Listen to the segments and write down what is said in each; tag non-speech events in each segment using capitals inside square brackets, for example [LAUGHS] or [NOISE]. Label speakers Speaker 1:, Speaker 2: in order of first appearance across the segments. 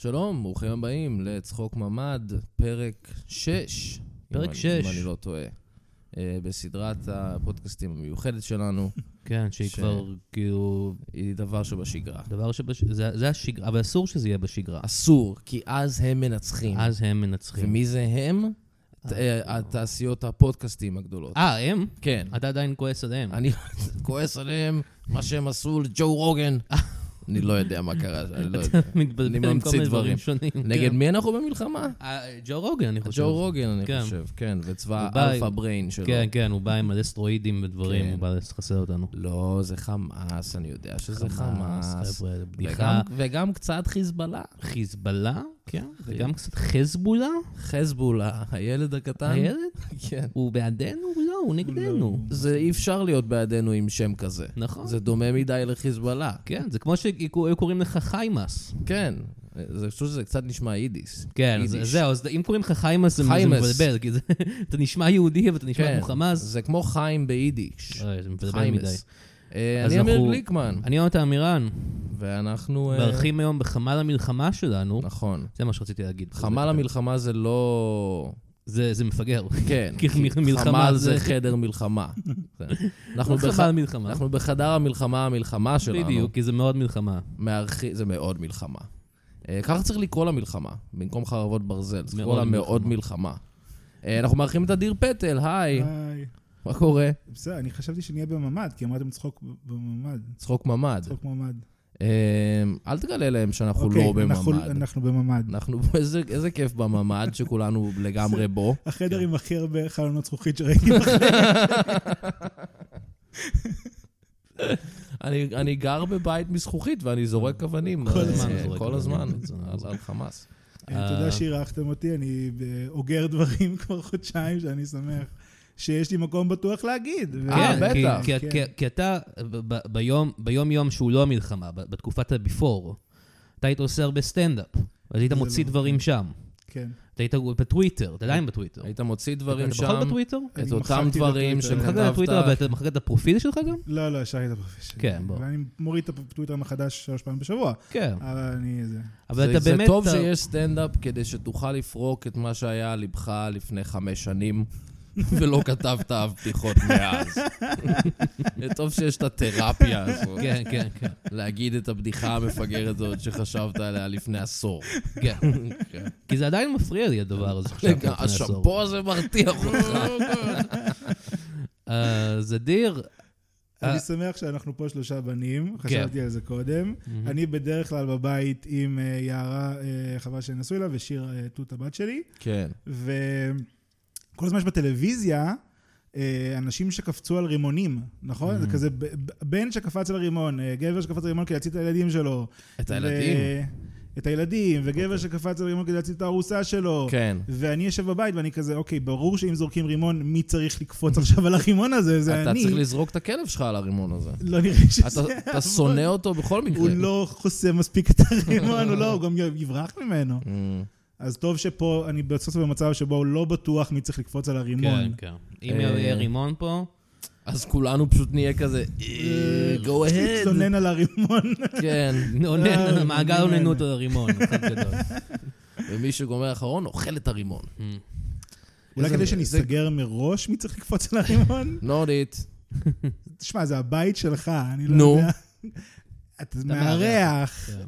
Speaker 1: שלום, ברוכים הבאים לצחוק ממ"ד, פרק 6.
Speaker 2: פרק
Speaker 1: אם
Speaker 2: שש.
Speaker 1: אני לא טועה. אה, בסדרת הפודקאסטים המיוחדת שלנו,
Speaker 2: כן, שהיא
Speaker 1: ש-
Speaker 2: כבר כאילו...
Speaker 1: היא דבר שבשגרה.
Speaker 2: דבר שבש... זה, זה השגרה, אבל אסור שזה יהיה בשגרה.
Speaker 1: אסור, כי אז הם מנצחים.
Speaker 2: אז הם מנצחים.
Speaker 1: ומי זה הם? ת- אה, התעשיות הפודקאסטים הגדולות.
Speaker 2: אה, הם?
Speaker 1: כן.
Speaker 2: אתה עדיין כועס עליהם.
Speaker 1: אני כועס עליהם, מה שהם עשו לג'ו רוגן. אני לא יודע מה קרה, אני [LAUGHS] לא יודע. אני
Speaker 2: [LAUGHS] מתבלבל עם כל
Speaker 1: ממציא
Speaker 2: מיני
Speaker 1: דברים.
Speaker 2: דברים שונים. כן.
Speaker 1: נגד מי אנחנו במלחמה?
Speaker 2: אה, ג'ו רוגן, אני חושב.
Speaker 1: ג'ו רוגן, אני
Speaker 2: כן.
Speaker 1: חושב, כן, וצבא
Speaker 2: הוא בא-
Speaker 1: אלפא בריין שלו.
Speaker 2: כן, כן, הוא בא עם מלא סטרואידים ודברים,
Speaker 1: כן.
Speaker 2: הוא בא לחסל אותנו.
Speaker 1: לא, זה חמאס, אני יודע שזה חמאס.
Speaker 2: חבר'ה, זה
Speaker 1: וגם,
Speaker 2: בדיחה.
Speaker 1: וגם קצת חיזבאללה.
Speaker 2: חיזבאללה? כן. וגם קצת חזבולה?
Speaker 1: חזבולה, הילד הקטן.
Speaker 2: הילד?
Speaker 1: כן.
Speaker 2: הוא בעדנו? לא, הוא נגדנו.
Speaker 1: זה אי אפשר להיות בעדינו עם שם כזה.
Speaker 2: נכון.
Speaker 1: זה דומה מדי לחיזבאללה.
Speaker 2: כן, זה כמו שהיו קוראים לך חיימאס.
Speaker 1: כן, זה פשוט שזה קצת נשמע יידיס.
Speaker 2: כן, אז
Speaker 1: יידיש.
Speaker 2: זהו, אז אם קוראים לך חיימס, זה זה
Speaker 1: חיימס.
Speaker 2: מבלבל, כי זה- [LAUGHS] אתה נשמע יהודי ואתה נשמע
Speaker 1: כן,
Speaker 2: כמו חמאס.
Speaker 1: זה כמו חיים ביידיש.
Speaker 2: אוי, אה, זה מבלבל מדי.
Speaker 1: חיימס. אה,
Speaker 2: אז
Speaker 1: אני אמיר
Speaker 2: אנחנו-
Speaker 1: גליקמן,
Speaker 2: אני יונתן אמירן,
Speaker 1: ואנחנו... אה,
Speaker 2: מארחים היום בחמ"ל המלחמה שלנו.
Speaker 1: נכון.
Speaker 2: זה מה שרציתי להגיד.
Speaker 1: חמ"ל המלחמה זה לא...
Speaker 2: זה זה מפגר. [LAUGHS]
Speaker 1: כן.
Speaker 2: כי
Speaker 1: כי
Speaker 2: מלחמה
Speaker 1: חמ"ל זה
Speaker 2: זה-
Speaker 1: חדר
Speaker 2: [LAUGHS]
Speaker 1: מלחמה. כן. אנחנו
Speaker 2: לא חמ"ל
Speaker 1: בח-
Speaker 2: מלחמה.
Speaker 1: אנחנו בחדר המלחמה, המלחמה שלנו.
Speaker 2: בדיוק, כי זה מאוד מלחמה.
Speaker 1: מארחי... זה מאוד מלחמה. אה, ככה צריך לקרוא לה מלחמה, במקום חרבות ברזל. צריך לקרוא לה
Speaker 2: מאוד
Speaker 1: מאוד מלחמה. אה, אנחנו מארחים את אדיר פטל, היי,
Speaker 3: היי.
Speaker 1: מה קורה?
Speaker 3: בסדר, אני חשבתי שנהיה בממ"ד, כי אמרתם צחוק ב- בממ"ד.
Speaker 1: צחוק ממ"ד.
Speaker 3: צחוק ממ"ד.
Speaker 1: אה, אל תגלה להם שאנחנו
Speaker 3: אוקיי,
Speaker 1: לא
Speaker 3: אנחנו-
Speaker 1: בממ"ד.
Speaker 3: אנחנו בממ"ד.
Speaker 1: אנחנו, איזה- איזה כיף בממ"ד שכולנו לגמרי בו.
Speaker 3: החדר עם הכי הרבה חלונות זכוכית שראיתי בחיים.
Speaker 1: [LAUGHS] אני, אני גר בבית מזכוכית ואני זורק אבנים.
Speaker 2: כל
Speaker 1: אה,
Speaker 2: הזמן זורק
Speaker 1: כל
Speaker 2: אבנים.
Speaker 1: הזמן,
Speaker 2: זה-
Speaker 1: על- על חמאס.
Speaker 3: אה,
Speaker 2: אה.
Speaker 3: תודה שאירחתם אותי, אני ב- אוגר דברים [LAUGHS] כבר חודשיים, שאני שמח שיש לי מקום בטוח להגיד. ו-
Speaker 1: אה,
Speaker 2: כן,
Speaker 1: בטח.
Speaker 2: כי- כי-
Speaker 3: כן.
Speaker 2: כי- כי אתה, ב- ב- ביום- ביום-יום שהוא לא המלחמה, ב- בתקופת ה-before, אתה היית עושה הרבה סטנדאפ. אז היית
Speaker 3: זה
Speaker 2: מוציא
Speaker 3: לא-
Speaker 2: דברים שם.
Speaker 3: כן.
Speaker 2: אתה היית בטוויטר, אתה עדיין בטוויטר.
Speaker 1: היית מוציא
Speaker 2: אתה
Speaker 1: דברים
Speaker 2: בכל
Speaker 1: שם,
Speaker 2: בטוויטר?
Speaker 1: את
Speaker 3: אני
Speaker 1: אותם
Speaker 3: מחקתי את
Speaker 1: דברים
Speaker 3: הטוויטר.
Speaker 2: מחקת
Speaker 3: מחקת
Speaker 2: את הטוויטר
Speaker 1: שכתבת.
Speaker 2: ואתה מחקת את הפרופיל שלך גם?
Speaker 3: לא, לא, השארתי את הפרופיל שלי.
Speaker 2: כן, בוא.
Speaker 3: ואני מוריד את הטוויטר מחדש שלוש פעמים בשבוע.
Speaker 2: כן.
Speaker 3: אבל אני... זה...
Speaker 2: אבל
Speaker 1: זה-
Speaker 2: אתה באמת...
Speaker 1: זה טוב
Speaker 2: אתה-
Speaker 1: שיש סטנדאפ כדי שתוכל לפרוק את מה שהיה על ליבך לפני חמש שנים,
Speaker 2: [LAUGHS]
Speaker 1: ולא כתבת אף בדיחות מאז. זה טוב שיש את התרפיה הזו,
Speaker 2: כן, כן, כן.
Speaker 1: להגיד את הבדיחה המפגרת הזאת שחשבת עליה לפני עשור.
Speaker 2: כן.
Speaker 1: כן.
Speaker 2: כי זה עדיין מפריע לי הדבר הזה עכשיו. לפני
Speaker 1: השאפו הזה מרתיח אותך.
Speaker 3: לא,
Speaker 2: עשור. אה, אז אדיר, אה.
Speaker 3: אני שמח שאנחנו פה שלושה
Speaker 1: כן.
Speaker 3: בנים, חשבתי על זה קודם. אני בדרך כלל בבית עם אה, יערה, אה, חבל שאני נשוי לה, ושיר אה, תות הבת שלי.
Speaker 1: כן.
Speaker 3: וכל הזמן יש בטלוויזיה אה, אנשים שקפצו על רימונים, נכון? זה כזה ב- ב- בן שקפץ על רימון, אה, גבר שקפץ על רימון כדי להציל את הילדים שלו.
Speaker 1: את
Speaker 3: ו-
Speaker 1: הילדים. אוקיי.
Speaker 3: את הילדים, וגבר שקפץ על רימון כדי להציל את הארוסה שלו.
Speaker 1: כן.
Speaker 3: ואני יושב בבית ואני כזה, אוקיי, ברור שאם זורקים רימון, מי צריך לקפוץ עכשיו על הרימון הזה? זה
Speaker 1: אתה
Speaker 3: אני.
Speaker 1: צריך לזרוק את הכלב שלך על הרימון
Speaker 3: [LAUGHS]
Speaker 1: הזה.
Speaker 3: לא נראה שזה...
Speaker 1: אתה- אתה שונא אוקיי. אותו בכל מקרה.
Speaker 3: [LAUGHS] הוא לא חוסם מספיק את הרימון, הוא לא, הוא גם יברח ממנו.
Speaker 1: Mm.
Speaker 3: אז טוב שפה אני בסוף במצב שבו לא בטוח מי צריך לקפוץ על הרימון.
Speaker 2: כן, כן. אם
Speaker 1: אה,
Speaker 2: יהיה רימון פה,
Speaker 1: אז כולנו פשוט נהיה כזה, "אה, go ahead.
Speaker 3: להתלונן על הרימון.
Speaker 1: כן.
Speaker 2: נונן,
Speaker 3: אה,
Speaker 2: מעגל
Speaker 3: רימון.
Speaker 2: אוננות על הרימון, אחד גדול.
Speaker 1: ומי שגומר אחרון אוכל את הרימון.
Speaker 3: אולי
Speaker 1: איזה-
Speaker 3: כדי שנסתגר מראש מי צריך לקפוץ על הרימון?
Speaker 1: Not it.
Speaker 3: תשמע, זה הבית שלך, אני לא
Speaker 1: נו.
Speaker 3: יודע. אתה מארח.
Speaker 2: כן.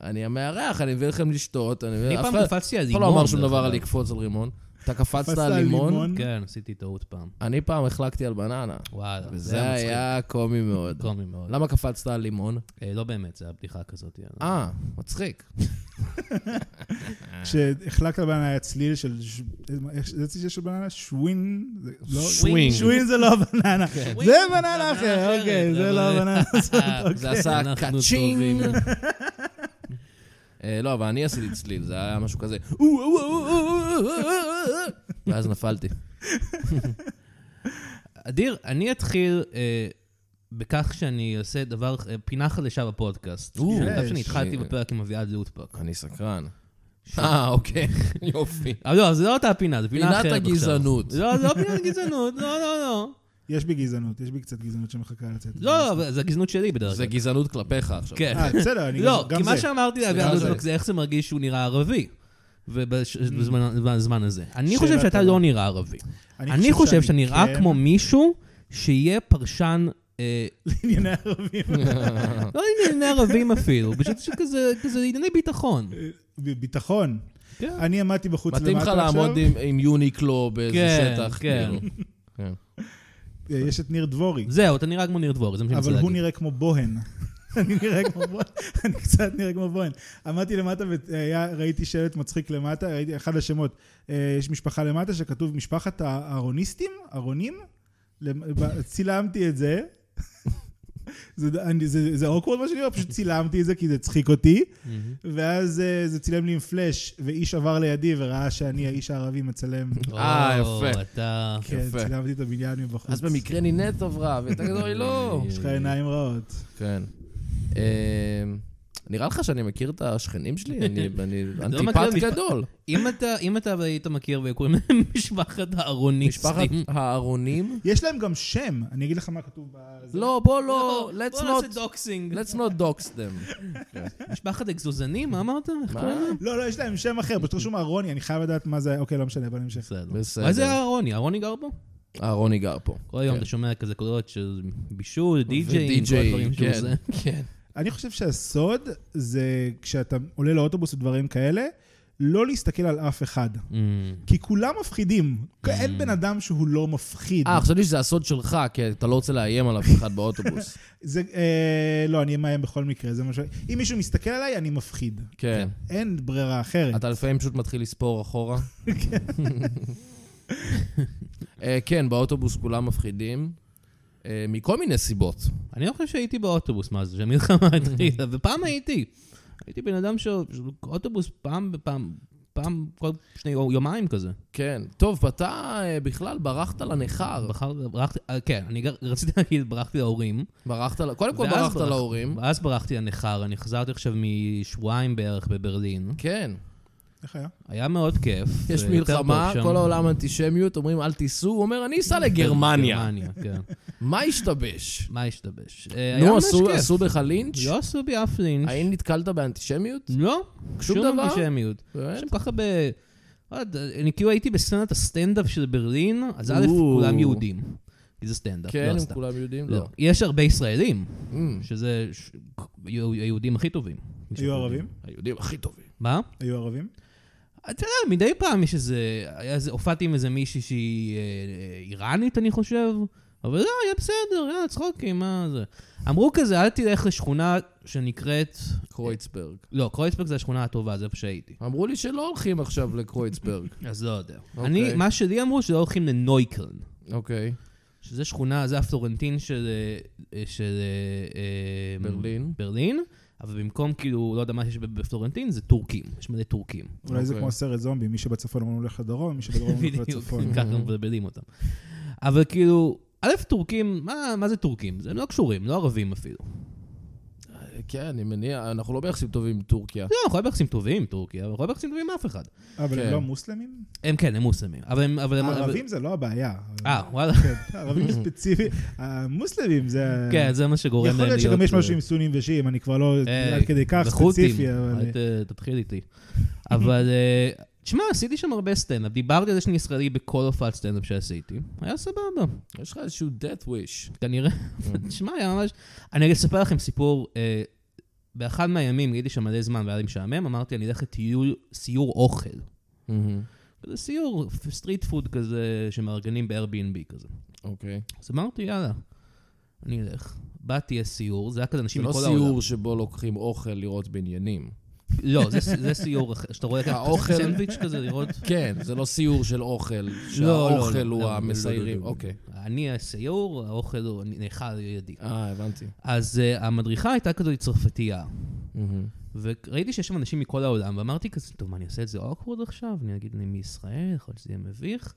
Speaker 1: אני המארח, אני מביא לכם לשתות. אני
Speaker 2: אני
Speaker 1: אה, אף
Speaker 2: פעם
Speaker 1: אחד-
Speaker 2: קפצתי על
Speaker 1: אף
Speaker 2: לימון.
Speaker 1: אחד לא אמר שום
Speaker 2: דרך
Speaker 1: דבר
Speaker 2: אגב.
Speaker 1: על לקפוץ על רימון. אתה קפצת
Speaker 3: קפצת
Speaker 1: על לימון,
Speaker 2: כן, עשיתי טעות פעם.
Speaker 1: אני פעם החלקתי על בננה.
Speaker 2: וואלה, זה
Speaker 1: וזה
Speaker 2: היה
Speaker 1: היה קומי מאוד.
Speaker 2: מצחיק. קומי מאוד.
Speaker 1: למה קפצת על לימון?
Speaker 2: אה, לא באמת, זה היה בדיחה כזאת. יאללה.
Speaker 1: אה, מצחיק.
Speaker 3: כשהחלקת על בננה היה צליל של... ש- איך זה צליל של בננה? שווין? זה- לא-
Speaker 2: שווינג.
Speaker 3: שווין זה לא הבננה. זה בננה
Speaker 2: בננה
Speaker 3: אחרת, אוקיי,
Speaker 2: אחרת,
Speaker 3: זה לא
Speaker 2: אבל-
Speaker 3: הבננה הזאת.
Speaker 2: אה,
Speaker 1: זה עשה
Speaker 2: אנחנו
Speaker 1: קאצ'ינג.
Speaker 2: [LAUGHS] טובים.
Speaker 1: אה, לא, אבל אני עשיתי צליל, זה היה משהו כזה. "או, או, או, או, או, או, או, או", ואז נפלתי.
Speaker 2: אדיר, אני אתחיל אה, בכך שאני עושה דבר, אה, פינה חדשה בפודקאסט.
Speaker 1: או,
Speaker 2: אני חושב
Speaker 3: יש.
Speaker 2: שאני התחלתי
Speaker 1: אה.
Speaker 2: בפרק עם אביעד לוטפק.
Speaker 1: אני סקרן.
Speaker 2: ש-
Speaker 1: אה, אוקיי, [LAUGHS] יופי.
Speaker 2: אבל לא, זה לא אותה פינה, זו פינה
Speaker 1: פינת
Speaker 2: אחרת עכשיו.
Speaker 1: הגזענות.
Speaker 2: לא, זה לא פינת הגזענות, לא, לא, לא.
Speaker 3: יש בי גזענות, יש בי קצת גזענות שמחכה לצאת.
Speaker 2: לא, אבל זה הגזענות שלי בדרך
Speaker 1: זה
Speaker 2: כלל.
Speaker 1: גזענות כלפיך עכשיו.
Speaker 2: כן.
Speaker 3: אה, בסדר, אני
Speaker 2: לא,
Speaker 3: גם-
Speaker 2: כי
Speaker 3: גם
Speaker 2: מה
Speaker 3: זה.
Speaker 2: שאמרתי על
Speaker 1: סליחה,
Speaker 2: אביעד
Speaker 1: זה-
Speaker 2: רוזנבלום זה איך זה מרגיש שהוא נראה ערבי. ובזמן הזה. אני
Speaker 3: שאלה
Speaker 2: חושב שאתה
Speaker 3: טובה.
Speaker 2: לא נראה ערבי. אני חושב שאתה
Speaker 3: שאני
Speaker 2: נראה
Speaker 3: כן.
Speaker 2: כמו מישהו שיהיה פרשן, אה,
Speaker 3: לענייני
Speaker 2: [LAUGHS]
Speaker 3: ערבים.
Speaker 2: לא ענייני ערבים אפילו, פשוט שכזה כזה ענייני ביטחון.
Speaker 3: ב- ביטחון.
Speaker 2: כן.
Speaker 3: אני עמדתי בחוץ למטה
Speaker 1: מתאים לך
Speaker 3: עכשיו.
Speaker 1: לעמוד עם- עם יוניקלו באיזה
Speaker 2: כן,
Speaker 1: שטח,
Speaker 2: כן.
Speaker 1: כאילו.
Speaker 2: [LAUGHS]
Speaker 1: כן.
Speaker 3: אה, יש את ניר דבורי.
Speaker 2: זהו, אתה נראה כמו ניר דבורי, זה מה שאני רוצה
Speaker 3: אבל הוא
Speaker 2: להגיד.
Speaker 3: נראה כמו בוהן. [LAUGHS] אני נראה כמו בוהן, [LAUGHS] אני קצת נראה כמו בוהן. עמדתי למטה וראיתי שלט מצחיק למטה, ראיתי אחד השמות. אה, יש משפחה למטה שכתוב משפחת הארוניסטים, ארונים. למ- ב- צילמתי את זה. [LAUGHS] זה- אני- זה זה awkward מה שאני אומר, פשוט צילמתי את זה כי זה צחיק אותי.
Speaker 2: מהמם.
Speaker 3: ואז אה, זה צילם לי עם פלאש, ואיש עבר לידי וראה שאני האיש הערבי
Speaker 1: [LAUGHS]
Speaker 3: מצלם.
Speaker 1: אה,
Speaker 2: או,
Speaker 1: יפה.
Speaker 2: אתה...
Speaker 3: כן,
Speaker 1: יפה.
Speaker 3: צילמתי את הבניין מבחוץ.
Speaker 1: אז במקרה נינט עברה, ואתה כזה, אוי, לא.
Speaker 3: יש לך עיניים רעות.
Speaker 1: כן. אמ, נראה לך שאני מכיר את השכנים
Speaker 2: [LAUGHS]
Speaker 1: שלי? אני אני
Speaker 2: לא מכיר
Speaker 1: אנטיפט
Speaker 2: משפ- [LAUGHS]
Speaker 1: גדול.
Speaker 2: אם אתה, אם אתה היית מכיר וקוראים להם [LAUGHS] משפחת
Speaker 1: משפחת
Speaker 2: הארוניסטים.
Speaker 1: הארונים?
Speaker 2: [LAUGHS]
Speaker 3: יש להם גם שם, אני אגיד לך מה כתוב בזה.
Speaker 1: לא, בוא לא, let's
Speaker 2: בוא נעשה
Speaker 1: not,
Speaker 2: דוקסינג.
Speaker 1: let's not dox them.
Speaker 2: [LAUGHS] משפחת אגזוזנים, מה אמרת? איך
Speaker 1: מה?
Speaker 2: קוראים להם?
Speaker 3: לא, לא, יש להם שם אחר, פשוט רשום אהרוני, אני חייב לדעת מה זה, אוקיי, לא משנה, בוא נמשיך.
Speaker 2: בסדר.
Speaker 1: בסדר.
Speaker 2: מה זה אהרוני? אהרוני גר פה?
Speaker 1: אהרוני גר פה.
Speaker 2: כל היום
Speaker 1: כן.
Speaker 2: אתה שומע כזה קולות של בישול, די-ג'יי, כל
Speaker 1: ודי-ג'יי,
Speaker 2: הדברים שהוא
Speaker 1: כן,
Speaker 2: עושה.
Speaker 1: כן.
Speaker 3: אני חושב שהסוד זה כשאתה עולה לאוטובוס ודברים כאלה, לא להסתכל על אף אחד.
Speaker 1: Mm.
Speaker 2: אמ,
Speaker 3: כי כולם מפחידים. אין בן אדם שהוא לא מפחיד.
Speaker 1: אה, חשבתי שזה הסוד שלך, כי אתה לא רוצה לאיים על אף אחד
Speaker 2: [LAUGHS]
Speaker 1: באוטובוס.
Speaker 3: זה, אה, לא, אני מאיים בכל מקרה, זה מה ש... אם מישהו מסתכל עליי, אני מפחיד.
Speaker 1: כן.
Speaker 3: אין ברירה אחרת.
Speaker 1: אתה לפעמים פשוט מתחיל לספור אחורה.
Speaker 2: כן.
Speaker 1: אה, כן, באוטובוס כולם מפחידים, אה, מכל מיני סיבות.
Speaker 2: אני לא חושב שהייתי באוטובוס, מה זה, שהמלחמה
Speaker 1: Mm.
Speaker 2: התחילה, ופעם הייתי. הייתי בן אדם שאוטובוס פעם בפעם, פעם כל שני יומיים כזה.
Speaker 1: כן. טוב, אתה אה, בכלל ברחת לניכר.
Speaker 2: בחר, ברחתי, אה, כן, אני גר- רציתי להגיד, ברחתי להורים.
Speaker 1: ברחת, ל- קודם כל
Speaker 2: ואז
Speaker 1: ברחת
Speaker 2: ברח-
Speaker 1: להורים.
Speaker 2: ואז ברחתי לניכר, אני חזרתי עכשיו משבועיים בערך בברלין.
Speaker 1: כן.
Speaker 3: איך היה?
Speaker 2: היה מאוד כיף.
Speaker 1: יש
Speaker 2: זה יותר
Speaker 1: מלחמה,
Speaker 2: טוב שם.
Speaker 1: כל העולם אנטישמיות, אומרים אל תיסעו, הוא אומר, אני
Speaker 2: [LAUGHS]
Speaker 1: אסע לגרמניה.
Speaker 2: גרמניה, כן.
Speaker 1: מה השתבש?
Speaker 2: מה השתבש? אה, היה
Speaker 1: נו,
Speaker 2: ממש
Speaker 1: עשו-
Speaker 2: כיף.
Speaker 1: עשו בך לינץ'?
Speaker 2: לא עשו בי אף לינץ'.
Speaker 1: האם נתקלת באנטישמיות?
Speaker 2: לא,
Speaker 1: שום
Speaker 2: שום
Speaker 1: דבר?
Speaker 2: אנטישמיות. יש שם כל כך הרבה... לא יודע, אני כאילו הייתי בסצנת הסטנדאפ של ברלין, אז א',
Speaker 1: או.
Speaker 2: כולם יהודים. כי זה סטנדאפ,
Speaker 1: כן,
Speaker 2: לא
Speaker 1: הם
Speaker 2: סתם.
Speaker 1: כולם יודעים?
Speaker 2: לא.
Speaker 1: לא.
Speaker 2: יש הרבה ישראלים,
Speaker 1: Mm,
Speaker 2: שזה ש- היו- היהודים הכי טובים.
Speaker 3: היו ערבים?
Speaker 1: היהודים הכי טובים.
Speaker 2: מה?
Speaker 3: היו ערבים?
Speaker 2: אתה יודע, מדי פעם יש איזה... היה איזה- הופעתי עם איזה מישהי שהיא אה, אה, איראנית, אני חושב, אבל לא, היה בסדר, יאללה, צחוקים, מה זה. אמרו כזה, אל תלך לשכונה שנקראת...
Speaker 1: קרויצברג.
Speaker 2: לא, קרויצברג זה השכונה הטובה, זה איפה שהייתי.
Speaker 1: אמרו לי שלא הולכים עכשיו [LAUGHS] לקרויצברג.
Speaker 2: אז לא יודע.
Speaker 1: אוקיי.
Speaker 2: אני, מה שלי אמרו, שלא הולכים לנויקרן.
Speaker 1: אוקיי.
Speaker 2: שזה שכונה, זה הפלורנטין של... אה, של אה, אה,
Speaker 1: ברלין.
Speaker 2: ברלין, אבל במקום כאילו, לא יודע מה שיש בפלורנטין, זה טורקים. יש מלא טורקים.
Speaker 3: אולי זה
Speaker 1: אוקיי.
Speaker 3: כמו סרט זומבי, מי שבצפון אמרנו הולך לדרום, מי שבדרום אמרנו
Speaker 1: [LAUGHS]
Speaker 3: הולך
Speaker 2: בדיוק,
Speaker 3: לצפון.
Speaker 2: ככה מבלבלים אותם. אבל כאילו, א', טורקים, מה, מה זה טורקים? זה לא קשורים, לא ערבים אפילו.
Speaker 1: כן, אני מניח, אנחנו לא ביחסים טובים עם טורקיה.
Speaker 2: לא, אנחנו לא ביחסים טובים עם טורקיה, אבל אנחנו לא ביחסים טובים עם אף אחד.
Speaker 3: אבל
Speaker 1: כן.
Speaker 3: הם לא מוסלמים?
Speaker 2: הם כן, הם מוסלמים. אבל הם... אבל הם- אבל-
Speaker 3: הערבים זה לא הבעיה.
Speaker 2: אה, וואלה.
Speaker 3: כן, ערבים ספציפי, המוסלמים זה...
Speaker 2: כן, זה מה שגורם להם
Speaker 3: יכול
Speaker 2: להיות...
Speaker 3: להיות שגם יש
Speaker 2: אה,
Speaker 3: משהו עם סונים ושיעים, אני כבר לא
Speaker 2: היי,
Speaker 3: עד כדי כך
Speaker 2: וחות'ים. אה,
Speaker 3: ספציפי, אבל...
Speaker 2: אל ת- תתחיל איתי. אבל, אה, תשמע, עשיתי שם הרבה סטנדאפ. דיברתי על זה שאני ישראלי בכל הופעת סטנדאפ שעשיתי. היה סבבה,
Speaker 1: יש לך איזשהו death wish.
Speaker 2: כנראה. תשמע, היה ממש... אני אספר לכם סיפור. אה, באחד מהימים, הייתי שם מלא זמן והיה לי משעמם, אמרתי, אני אלך לטיול, סיור אוכל. כזה סיור, סטריט פוד כזה, שמארגנים ב-Airbnb כזה.
Speaker 1: אוקיי.
Speaker 2: אז אמרתי, יאללה, אני אלך. באתי לסיור, זה היה כזה
Speaker 1: זה
Speaker 2: אנשים
Speaker 1: לא
Speaker 2: מכל העולם.
Speaker 1: סיור שבו לוקחים אוכל לראות בניינים.
Speaker 2: לא, זה- זה סיור אחר, שאתה רואה
Speaker 1: האוכל-
Speaker 2: ככה סנדוויץ' כזה, לראות...
Speaker 1: כן, זה לא סיור של אוכל, [LAUGHS]
Speaker 2: לא, לא,
Speaker 1: שהאוכל
Speaker 2: לא,
Speaker 1: הוא
Speaker 2: לא, לא,
Speaker 1: המסיירים.
Speaker 2: לא, לא.
Speaker 1: אוקיי.
Speaker 2: אני הסיור, האוכל הוא נאכל על ידי.
Speaker 1: אה, הבנתי.
Speaker 2: אז אה, המדריכה הייתה כזו צרפתייה,
Speaker 1: מהמם.
Speaker 2: וראיתי שיש שם אנשים מכל העולם, ואמרתי כזה, טוב, מה, אני אעשה את זה awkward עכשיו? אני אגיד, אני מישראל, יכול להיות שזה יהיה מביך.